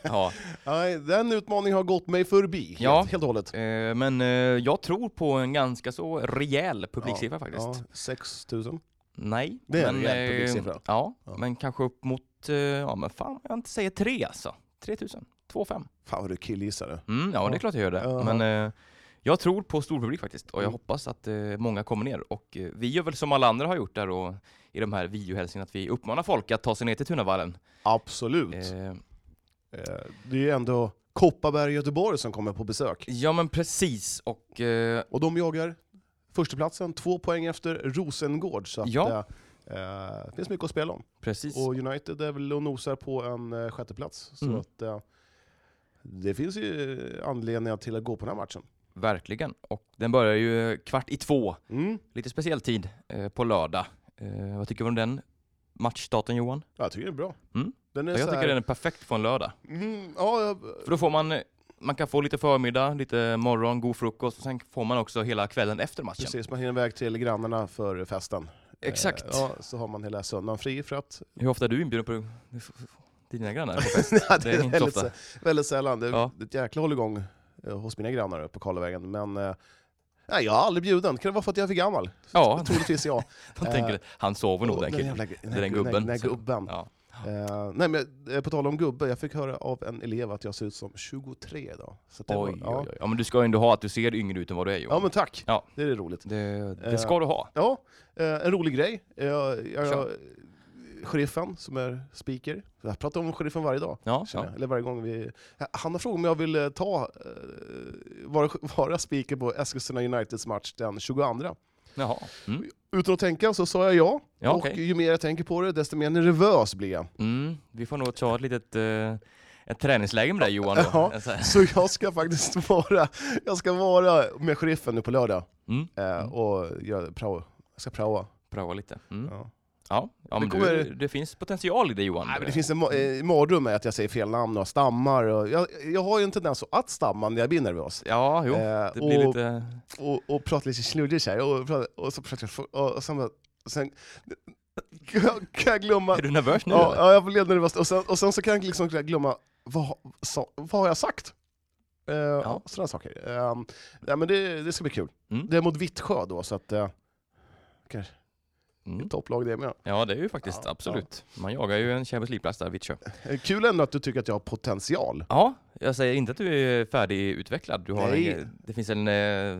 Speaker 2: Ja,
Speaker 3: nej, den utmaningen har gått mig förbi, helt,
Speaker 2: Ja.
Speaker 3: helt och hållet.
Speaker 2: eh, men eh, jag tror på en ganska så rejäl publiksiffra faktiskt.
Speaker 3: Ja, 6 000.
Speaker 2: Nej,
Speaker 3: Det är en
Speaker 2: men, eh,
Speaker 3: rejäl publiksiffra.
Speaker 2: ja,
Speaker 3: Ja.
Speaker 2: men kanske upp mot, eh, ja men fan jag inte säger tre alltså. 3000, 2,5.
Speaker 3: Fan vad du killgissar nu.
Speaker 2: Mm, ja, det
Speaker 3: Ja.
Speaker 2: är klart jag gör det.
Speaker 3: Ja.
Speaker 2: Men eh, jag tror på stor publik faktiskt och jag
Speaker 3: Mm.
Speaker 2: hoppas att eh, många kommer ner. Och eh, vi gör väl som alla andra har gjort där och i de här videohälsningarna att vi uppmanar folk att ta sig ner till Tunavallen.
Speaker 3: Absolut.
Speaker 2: Eh,
Speaker 3: Eh, Det är ju ändå Kopparberg och Göteborg som kommer på besök.
Speaker 2: ja men precis och eh,
Speaker 3: Och de jagar förstaplatsen, två poäng efter Rosengård. Så att,
Speaker 2: Ja.
Speaker 3: eh, eh, det finns mycket att spela om.
Speaker 2: precis.
Speaker 3: Och United är väl och nosar på en eh, sjätteplats. Så
Speaker 2: Mm.
Speaker 3: att, eh, det finns ju anledningar till att gå på den här matchen.
Speaker 2: Verkligen. Och den börjar ju kvart i två,
Speaker 3: Mm.
Speaker 2: lite speciell tid, eh, på lördag. Eh, vad tycker du om den matchstarten Johan?
Speaker 3: Ja, jag tycker den är bra.
Speaker 2: Mm.
Speaker 3: Den är
Speaker 2: Jag
Speaker 3: så
Speaker 2: tycker
Speaker 3: här-
Speaker 2: den är perfekt för en lördag.
Speaker 3: Mm, ja, jag-
Speaker 2: För då får man, eh, man kan få lite förmiddag, lite morgon, god frukost och sen får man också hela kvällen efter matchen.
Speaker 3: precis. Man hinner iväg till grannarna för festen.
Speaker 2: Exakt.
Speaker 3: Eh, ja, så har man hela söndagen fri för att...
Speaker 2: Hur ofta är du inbjuden på till dina grannar? på fest?
Speaker 3: Nej,
Speaker 2: Det är inte så
Speaker 3: väldigt,
Speaker 2: ofta.
Speaker 3: sä- väldigt sällan. Det är
Speaker 2: Ja.
Speaker 3: ett jäkla hålligång eh, hos mina grannar uppe på Karlavägen. Men eh, nej, jag har aldrig bjuden. Kan det vara för att jag är för gammal?
Speaker 2: Ja,
Speaker 3: Troligtvis jag.
Speaker 2: de tänker han sover nog
Speaker 3: Och
Speaker 2: den killen.
Speaker 3: Eh, jävla-
Speaker 2: den gubben.
Speaker 3: Den, den
Speaker 2: Så-
Speaker 3: gubben.
Speaker 2: Ja.
Speaker 3: Eh, nej, men, eh, på tal om gubbe, jag fick höra av en elev att jag ser ut som 23 idag. Så att det var-
Speaker 2: Oj,
Speaker 3: ja.
Speaker 2: oj, oj. Ja, men du ska ju ändå ha att du ser yngre ut än vad du är Johan.
Speaker 3: ja, men tack.
Speaker 2: Ja.
Speaker 3: Det är roligt.
Speaker 2: det,
Speaker 3: Eh,
Speaker 2: det ska du ha.
Speaker 3: Ja, eh, en rolig grej. Eh, jag, jag,
Speaker 2: Kör.
Speaker 3: sheriffen som är speaker, jag pratar om sheriffen varje dag.
Speaker 2: Ja,
Speaker 3: känner
Speaker 2: ja.
Speaker 3: jag. Eller varje gång vi... Han har frågat om jag vill eh, ta, eh, vara, vara speaker på Eskilstuna Uniteds match den 22.
Speaker 2: Jaha. Mm.
Speaker 3: Utan att tänka så sa jag ja,
Speaker 2: Ja,
Speaker 3: och
Speaker 2: okej.
Speaker 3: ju mer jag tänker på det desto mer nervös blir jag.
Speaker 2: Mm, vi får nog ta ett litet eh, ett träningsläge med dig Johan. Då.
Speaker 3: Ja.
Speaker 2: Så här.
Speaker 3: Så jag ska faktiskt vara, jag ska vara med sheriffen nu på lördag
Speaker 2: Mm.
Speaker 3: eh, och göra prao. Jag ska praoa.
Speaker 2: Prova lite. Mm.
Speaker 3: Ja.
Speaker 2: Ja, ja men
Speaker 3: kommer-
Speaker 2: du, det finns potential i det Johan.
Speaker 3: Nej, men det finns en ma- eh, mardröm med att jag säger fel namn och stammar. Och jag, jag har ju en tendens att stamma när jag blir nervös.
Speaker 2: Ja, jo.
Speaker 3: Eh,
Speaker 2: Det blir
Speaker 3: och-
Speaker 2: lite...
Speaker 3: och, och pratar lite sluddigt så här, och, pratar, och så pratar jag, för- och, och sen, bara- och sen kan jag glömma,
Speaker 2: Är du nervös nu?
Speaker 3: ja,
Speaker 2: eller?
Speaker 3: ja jag blev nervös, och sen, och sen så kan jag liksom glömma, vad, sa, vad har jag sagt? Eh, ja. Sådana saker. Ehm, ja, men det, det ska bli kul.
Speaker 2: Mm.
Speaker 3: Det är mot Vittsjö då, så att, eh, kanske
Speaker 2: Mm.
Speaker 3: topplag det med.
Speaker 2: Ja, det är ju faktiskt
Speaker 3: Ja,
Speaker 2: absolut. Man jagar ju en Champions League-plats där, Vittsjö.
Speaker 3: Eh, Kul ändå att du tycker att jag har potential.
Speaker 2: Ja, jag säger inte att du är färdigutvecklad. Du har
Speaker 3: Nej.
Speaker 2: en, det finns en... eh,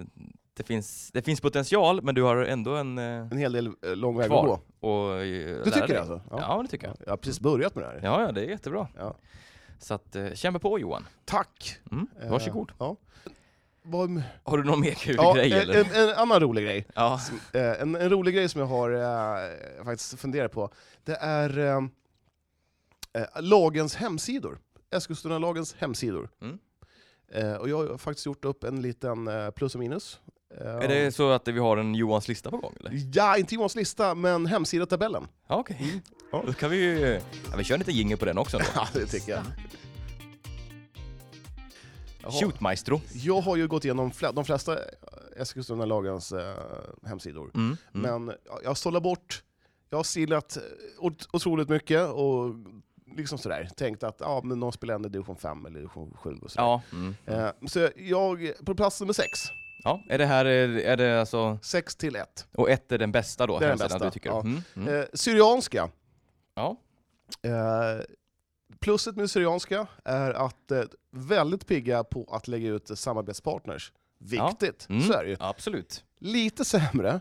Speaker 2: Det finns, det finns potential, men du har ändå en eh,
Speaker 3: En hel del eh, lång väg att
Speaker 2: kvar
Speaker 3: gå.
Speaker 2: och eh,
Speaker 3: Du
Speaker 2: lära
Speaker 3: tycker
Speaker 2: dig.
Speaker 3: det alltså?
Speaker 2: Ja. det tycker jag.
Speaker 3: Jag har precis börjat med det här.
Speaker 2: Ja, ja det är jättebra.
Speaker 3: Ja.
Speaker 2: Så att, eh, kämpa på Johan.
Speaker 3: Tack!
Speaker 2: Mm,
Speaker 3: Eh,
Speaker 2: varsågod.
Speaker 3: Ja. vad,
Speaker 2: Har du någon mer kul
Speaker 3: ja, eh,
Speaker 2: grej
Speaker 3: en,
Speaker 2: eller?
Speaker 3: en, en annan rolig grej.
Speaker 2: ja.
Speaker 3: Eh, en, en rolig grej som jag har eh, faktiskt funderat på, det är eh, eh, lagens hemsidor. Eskilstuna-lagens hemsidor.
Speaker 2: Mm.
Speaker 3: Eh, och jag har faktiskt gjort upp en liten eh, plus och minus. Eh,
Speaker 2: Är det så att vi har en Johans lista på gång eller?
Speaker 3: Ja, inte Johans lista, men hemsidatabellen.
Speaker 2: Ja, okej.
Speaker 3: Ja.
Speaker 2: Då kan vi ju... Ja, vi kör lite jingle på den också då.
Speaker 3: Ja, det tycker jag. Jaha.
Speaker 2: Shoot maestro.
Speaker 3: Jag har ju gått igenom fle- de flesta Eskilstuna-lagens eh, hemsidor.
Speaker 2: Mm. Mm.
Speaker 3: Men jag- jag sållar bort, jag har sillat eh, ot- otroligt mycket och liksom sådär, tänkt att ja, men de spelar ändå division 5 eller division 7 och sådär.
Speaker 2: Ja. Mm.
Speaker 3: Eh, så jag, på plats nummer 6,
Speaker 2: ja. Är det här, eh, är det alltså...
Speaker 3: 6 till 1.
Speaker 2: Och ett är den bästa då?
Speaker 3: Det är den
Speaker 2: hemsidan
Speaker 3: bästa,
Speaker 2: Du tycker.
Speaker 3: ja.
Speaker 2: Mm. Mm.
Speaker 3: Eh, Syrianska.
Speaker 2: ja.
Speaker 3: Eh, Plusset med Syrianska är att eh, väldigt pigga på att lägga ut eh, samarbetspartners. Viktigt,
Speaker 2: Mm.
Speaker 3: så är det ju.
Speaker 2: Absolut.
Speaker 3: Lite sämre,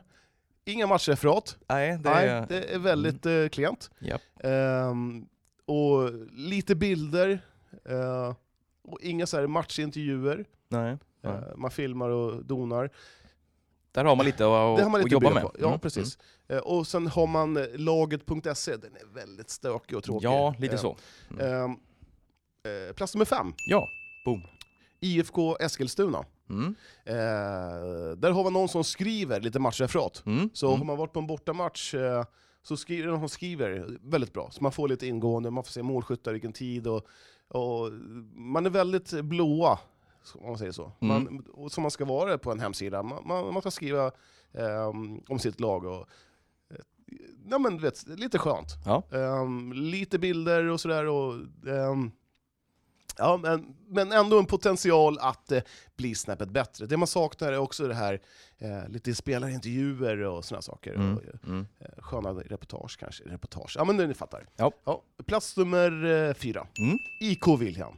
Speaker 3: inga matchreferat,
Speaker 2: Nej, det
Speaker 3: Nej, det är väldigt eh, klent.
Speaker 2: Japp.
Speaker 3: Ehm, och lite bilder, eh, och inga så här matchintervjuer.
Speaker 2: Nej.
Speaker 3: Eh,
Speaker 2: Nej.
Speaker 3: man filmar och donar.
Speaker 2: Där har man lite att,
Speaker 3: det har man
Speaker 2: att
Speaker 3: lite att
Speaker 2: jobba med.
Speaker 3: bygga på. Ja,
Speaker 2: Mm.
Speaker 3: precis. Eh, och sen har man eh, laget.se, den är väldigt stökig och
Speaker 2: Mm.
Speaker 3: tråkig.
Speaker 2: Ja, lite
Speaker 3: Eh,
Speaker 2: så. Mm.
Speaker 3: ehm, eh, plats nummer fem,
Speaker 2: Ja. Boom.
Speaker 3: IFK Eskilstuna.
Speaker 2: Mm.
Speaker 3: Eh, där har man någon som skriver lite matchreferat.
Speaker 2: Mm.
Speaker 3: Så
Speaker 2: mm.
Speaker 3: har man varit på en bortamatch eh, så skriver de som skriver väldigt bra. Så man får lite ingående, man får se målskyttar, vilken tid och, och man är väldigt blåa, om man säger så.
Speaker 2: Mm.
Speaker 3: Man, och som man ska vara på en hemsida. Man, man, man ska skriva eh, om sitt lag och eh, Ja men du vet, lite skönt.
Speaker 2: Ja.
Speaker 3: Ehm, lite bilder och sådär. Och, ehm, ja, men, men ändå en potential att eh, bli snäppet bättre. Det man saknar är också det här, eh, lite spelarintervjuer och sådana saker.
Speaker 2: Mm.
Speaker 3: Och, eh,
Speaker 2: Mm.
Speaker 3: sköna reportage kanske. Reportage, ja men ni fattar.
Speaker 2: Ja.
Speaker 3: plats nummer eh, fyra,
Speaker 2: Mm.
Speaker 3: IK Wilhelm.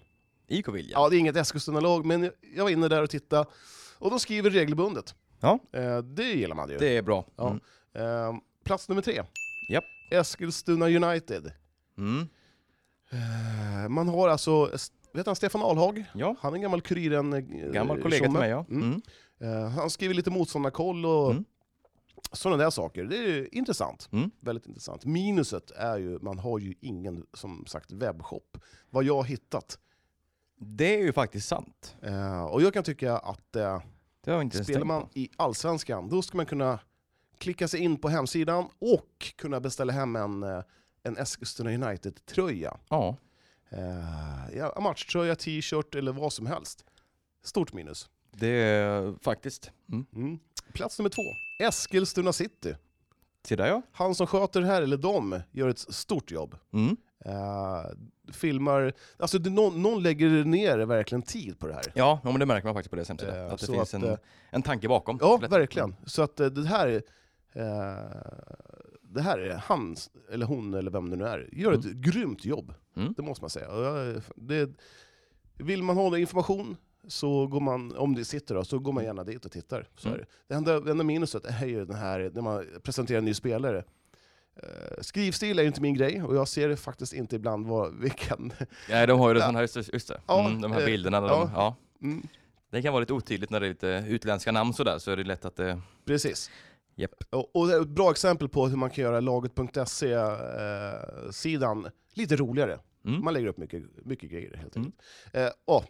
Speaker 2: IK Vilja.
Speaker 3: Ja, det är inget Eskilstuna-lag, men jag var inne där och tittade. Och de skriver regelbundet.
Speaker 2: Ja.
Speaker 3: Eh, det gillar man ju.
Speaker 2: Det är bra.
Speaker 3: Ja.
Speaker 2: Mm.
Speaker 3: Ehm, plats nummer tre,
Speaker 2: Japp.
Speaker 3: Eskilstuna United.
Speaker 2: Mm.
Speaker 3: Eh, Man har alltså, vet han Stefan Alhag?
Speaker 2: Ja.
Speaker 3: Han är en gammal kuriren eh,
Speaker 2: Gammal kollega
Speaker 3: tjomme.
Speaker 2: till mig ja.
Speaker 3: Mm.
Speaker 2: Mm.
Speaker 3: Eh, Han skriver lite motståndarkoll och
Speaker 2: Mm.
Speaker 3: sådana där saker. Det är ju intressant.
Speaker 2: Mm.
Speaker 3: Väldigt intressant. Minuset är ju, man har ju ingen, som sagt, webbshop. Vad jag har hittat.
Speaker 2: Det är ju faktiskt sant.
Speaker 3: Eh, Och jag kan tycka att eh,
Speaker 2: Det har jag inte ens
Speaker 3: spelar
Speaker 2: tänkt
Speaker 3: man
Speaker 2: på.
Speaker 3: i Allsvenskan, då ska man kunna klicka sig in på hemsidan och kunna beställa hem en, eh, en Eskilstuna United-tröja.
Speaker 2: Ja.
Speaker 3: Eh, ja, matchtröja, t-shirt eller vad som helst. Stort minus.
Speaker 2: Det är faktiskt. Mm.
Speaker 3: Mm. Plats nummer två, Eskilstuna City.
Speaker 2: Se där ja.
Speaker 3: Han som sköter det här, eller de, gör ett stort jobb.
Speaker 2: Mm.
Speaker 3: Eh, filmar, alltså det, någon, någon lägger ner verkligen tid på det här.
Speaker 2: Ja, ja, men det märker man faktiskt på deras hemsida.
Speaker 3: Eh,
Speaker 2: att det
Speaker 3: så
Speaker 2: finns
Speaker 3: att,
Speaker 2: en,
Speaker 3: eh,
Speaker 2: en tanke bakom.
Speaker 3: Ja,
Speaker 2: Lätt- Mm.
Speaker 3: verkligen. Så att eh, det här, eh, det här är hans, eller hon, eller vem det nu är, gör ett grymt jobb.
Speaker 2: Mm.
Speaker 3: Det måste man säga. Och jag- eh, Det, vill man ha information, så går man, om det sitter då, så går man gärna dit och tittar. Så
Speaker 2: Mm.
Speaker 3: är det. Det, enda, det enda minuset är ju den här, när man presenterar en ny spelare, Eh, Skrivstil är ju inte min grej, och jag ser faktiskt inte ibland vad, vilken...
Speaker 2: Nej, Mm. de har ju det
Speaker 3: Ja.
Speaker 2: sån här, just, just det.
Speaker 3: Ja,
Speaker 2: Mm, de här
Speaker 3: eh,
Speaker 2: bilderna. där
Speaker 3: ja.
Speaker 2: De, ja.
Speaker 3: Mm,
Speaker 2: Det kan vara lite otydligt när det är lite utländska namn sådär, så är det lätt att eh, det...
Speaker 3: precis.
Speaker 2: Japp.
Speaker 3: Och, och det är ett bra exempel på hur man kan göra laget.se-sidan eh, lite roligare.
Speaker 2: Mm.
Speaker 3: Man lägger upp mycket, mycket grejer helt
Speaker 2: Mm.
Speaker 3: enkelt. Eh, och,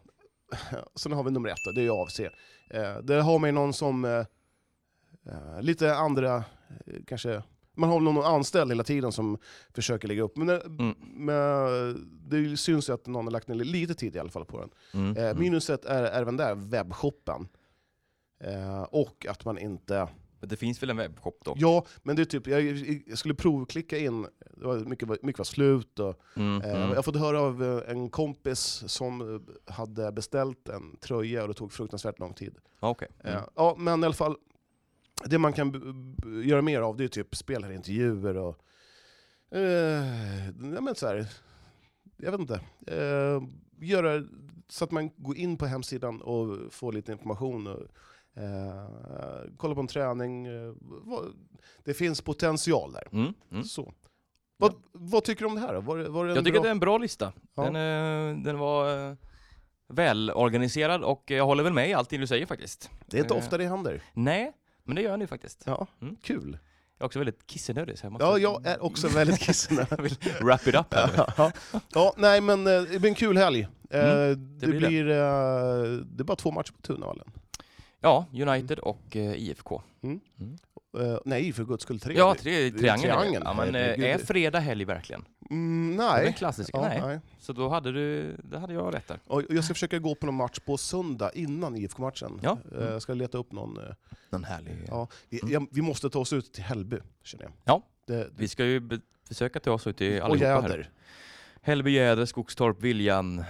Speaker 3: sen har vi nummer ett, då, det är ju AFC. Eh, där har man ju någon som, eh, eh, lite andra, eh, kanske, man har någon anställd hela tiden som försöker lägga upp. Men, det-
Speaker 2: Mm.
Speaker 3: men eh, det syns ju att någon har lagt ner lite tid i alla fall på den.
Speaker 2: Mm.
Speaker 3: Eh,
Speaker 2: mm.
Speaker 3: minuset är är även där webbshoppen. Eh, och att man inte...
Speaker 2: Men Det finns väl en webbshop då?
Speaker 3: Ja, men det är typ, jag, jag skulle provklicka in, det var mycket, var- mycket var slut och
Speaker 2: Mm.
Speaker 3: Eh,
Speaker 2: Mm.
Speaker 3: Jag har fått höra av eh, en kompis som eh, hade beställt en tröja och det tog fruktansvärt lång tid.
Speaker 2: Ja, Okej.
Speaker 3: Eh,
Speaker 2: Mm.
Speaker 3: Ja, men i alla fall, det man kan b- b- göra mer av det är typ spelarintervjuer och... Eh, ja, men så här, jag vet inte. Eh, göra så att man går in på hemsidan och får lite information. Och, eh, kolla på en träning. Eh, vad, det finns potential där.
Speaker 2: Mm. Mm.
Speaker 3: Så. Vad, vad tycker du om det här då? Var, det- var det en
Speaker 2: Jag tycker
Speaker 3: bra-
Speaker 2: att det är en bra lista.
Speaker 3: Ja.
Speaker 2: Den, eh, den var... eh, välorganiserad och jag håller väl med i allting du säger faktiskt.
Speaker 3: Det är inte
Speaker 2: Eh,
Speaker 3: ofta det händer.
Speaker 2: Nej, men det gör jag nu faktiskt.
Speaker 3: Ja,
Speaker 2: Mm.
Speaker 3: kul.
Speaker 2: Jag är också väldigt kissenödig så jag måste
Speaker 3: Ja, jag är också väldigt kissnödig.
Speaker 2: jag vill wrap it up här nu.
Speaker 3: ja. ja, nej men eh, det blir en kul helg. Eh, det,
Speaker 2: blir
Speaker 3: blir,
Speaker 2: Mm. det.
Speaker 3: eh, det är bara två matcher på Tunavallen.
Speaker 2: Ja, United och eh, IFK.
Speaker 3: Eh, nej, för guds skull tre.
Speaker 2: Ja, tre,
Speaker 3: det är
Speaker 2: triangeln. är det.
Speaker 3: triangeln.
Speaker 2: Ja, men eh,
Speaker 3: Herregud.
Speaker 2: är fredag helg verkligen?
Speaker 3: Mm,
Speaker 2: Det är en
Speaker 3: nej.
Speaker 2: klassiker.
Speaker 3: Ja,
Speaker 2: nej.
Speaker 3: nej.
Speaker 2: Så då hade du, det hade jag rätt där.
Speaker 3: Och jag ska försöka gå på någon match på söndag innan IFK-matchen.
Speaker 2: Ja. Mm.
Speaker 3: Eh, Jag ska leta upp någon. eh,
Speaker 2: Någon härlig...
Speaker 3: Ja. Vi, jag, vi måste ta oss ut till Hällby, känner jag.
Speaker 2: Ja.
Speaker 3: Det,
Speaker 2: Vi ska ju be- försöka ta oss ut i
Speaker 3: och
Speaker 2: allihopa här.
Speaker 3: Jäder.
Speaker 2: Hällby, Jäder, Skogstorp, Viljan,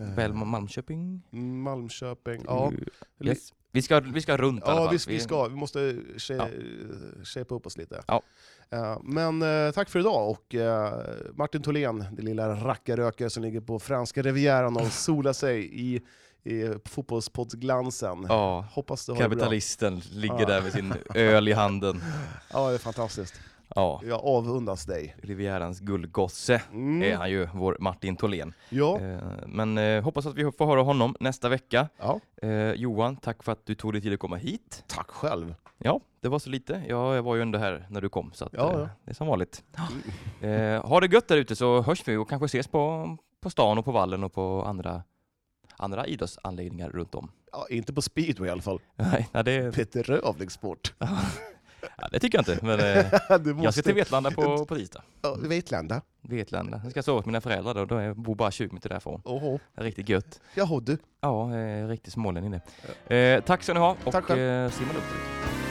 Speaker 3: Eh,
Speaker 2: Bellman, Malmköping.
Speaker 3: Malmköping. Ja,
Speaker 2: Eh, yes. vi, ska, vi ska runt i alla
Speaker 3: ja
Speaker 2: fall.
Speaker 3: visst vi ska. Vi måste shape, shapea upp oss lite.
Speaker 2: Ja.
Speaker 3: Eh, Men eh, tack för idag och eh, Martin Tholén, den lilla rackarrökare som ligger på franska rivieran och solar sig i, i fotbollspoddsglansen.
Speaker 2: Ja,
Speaker 3: Hoppas du har det bra.
Speaker 2: kapitalisten ligger
Speaker 3: Ja.
Speaker 2: där med sin öl i handen.
Speaker 3: Ja, det är fantastiskt.
Speaker 2: Ja,
Speaker 3: Jag avundas dig.
Speaker 2: Rivierans guldgosse
Speaker 3: Mm.
Speaker 2: är han ju, vår Martin Tholén.
Speaker 3: Ja.
Speaker 2: Eh, Men eh, hoppas att vi får höra honom nästa vecka.
Speaker 3: ja,
Speaker 2: Eh, Johan, tack för att du tog dig tid att komma hit.
Speaker 3: tack själv.
Speaker 2: Ja, det var så lite. Ja, jag var ju ändå här när du kom, så att,
Speaker 3: Ja,
Speaker 2: eh,
Speaker 3: ja.
Speaker 2: det är som vanligt. Eh, ha det gött där ute så hörs vi och kanske ses på, på stan och på vallen och på andra, andra idrottsanläggningar runt om.
Speaker 3: Ja, inte på speedway i alla fall.
Speaker 2: Nej, nej det,
Speaker 3: Peter Rövningssport.
Speaker 2: ja, det tycker jag inte. Men, eh,
Speaker 3: Du
Speaker 2: jag ska
Speaker 3: måste...
Speaker 2: till Vetlanda på, på tisdag.
Speaker 3: Ja, Vetlanda.
Speaker 2: Vetlanda. Jag ska sova hos mina föräldrar då, då är- bor bara 20 minuter därifrån.
Speaker 3: Oho.
Speaker 2: Det är Riktigt gött.
Speaker 3: Jaha du.
Speaker 2: Ja, eh, riktigt smålänning det. Eh, tack ska ni ha och
Speaker 3: Tack själv.
Speaker 2: eh, simma lugnt.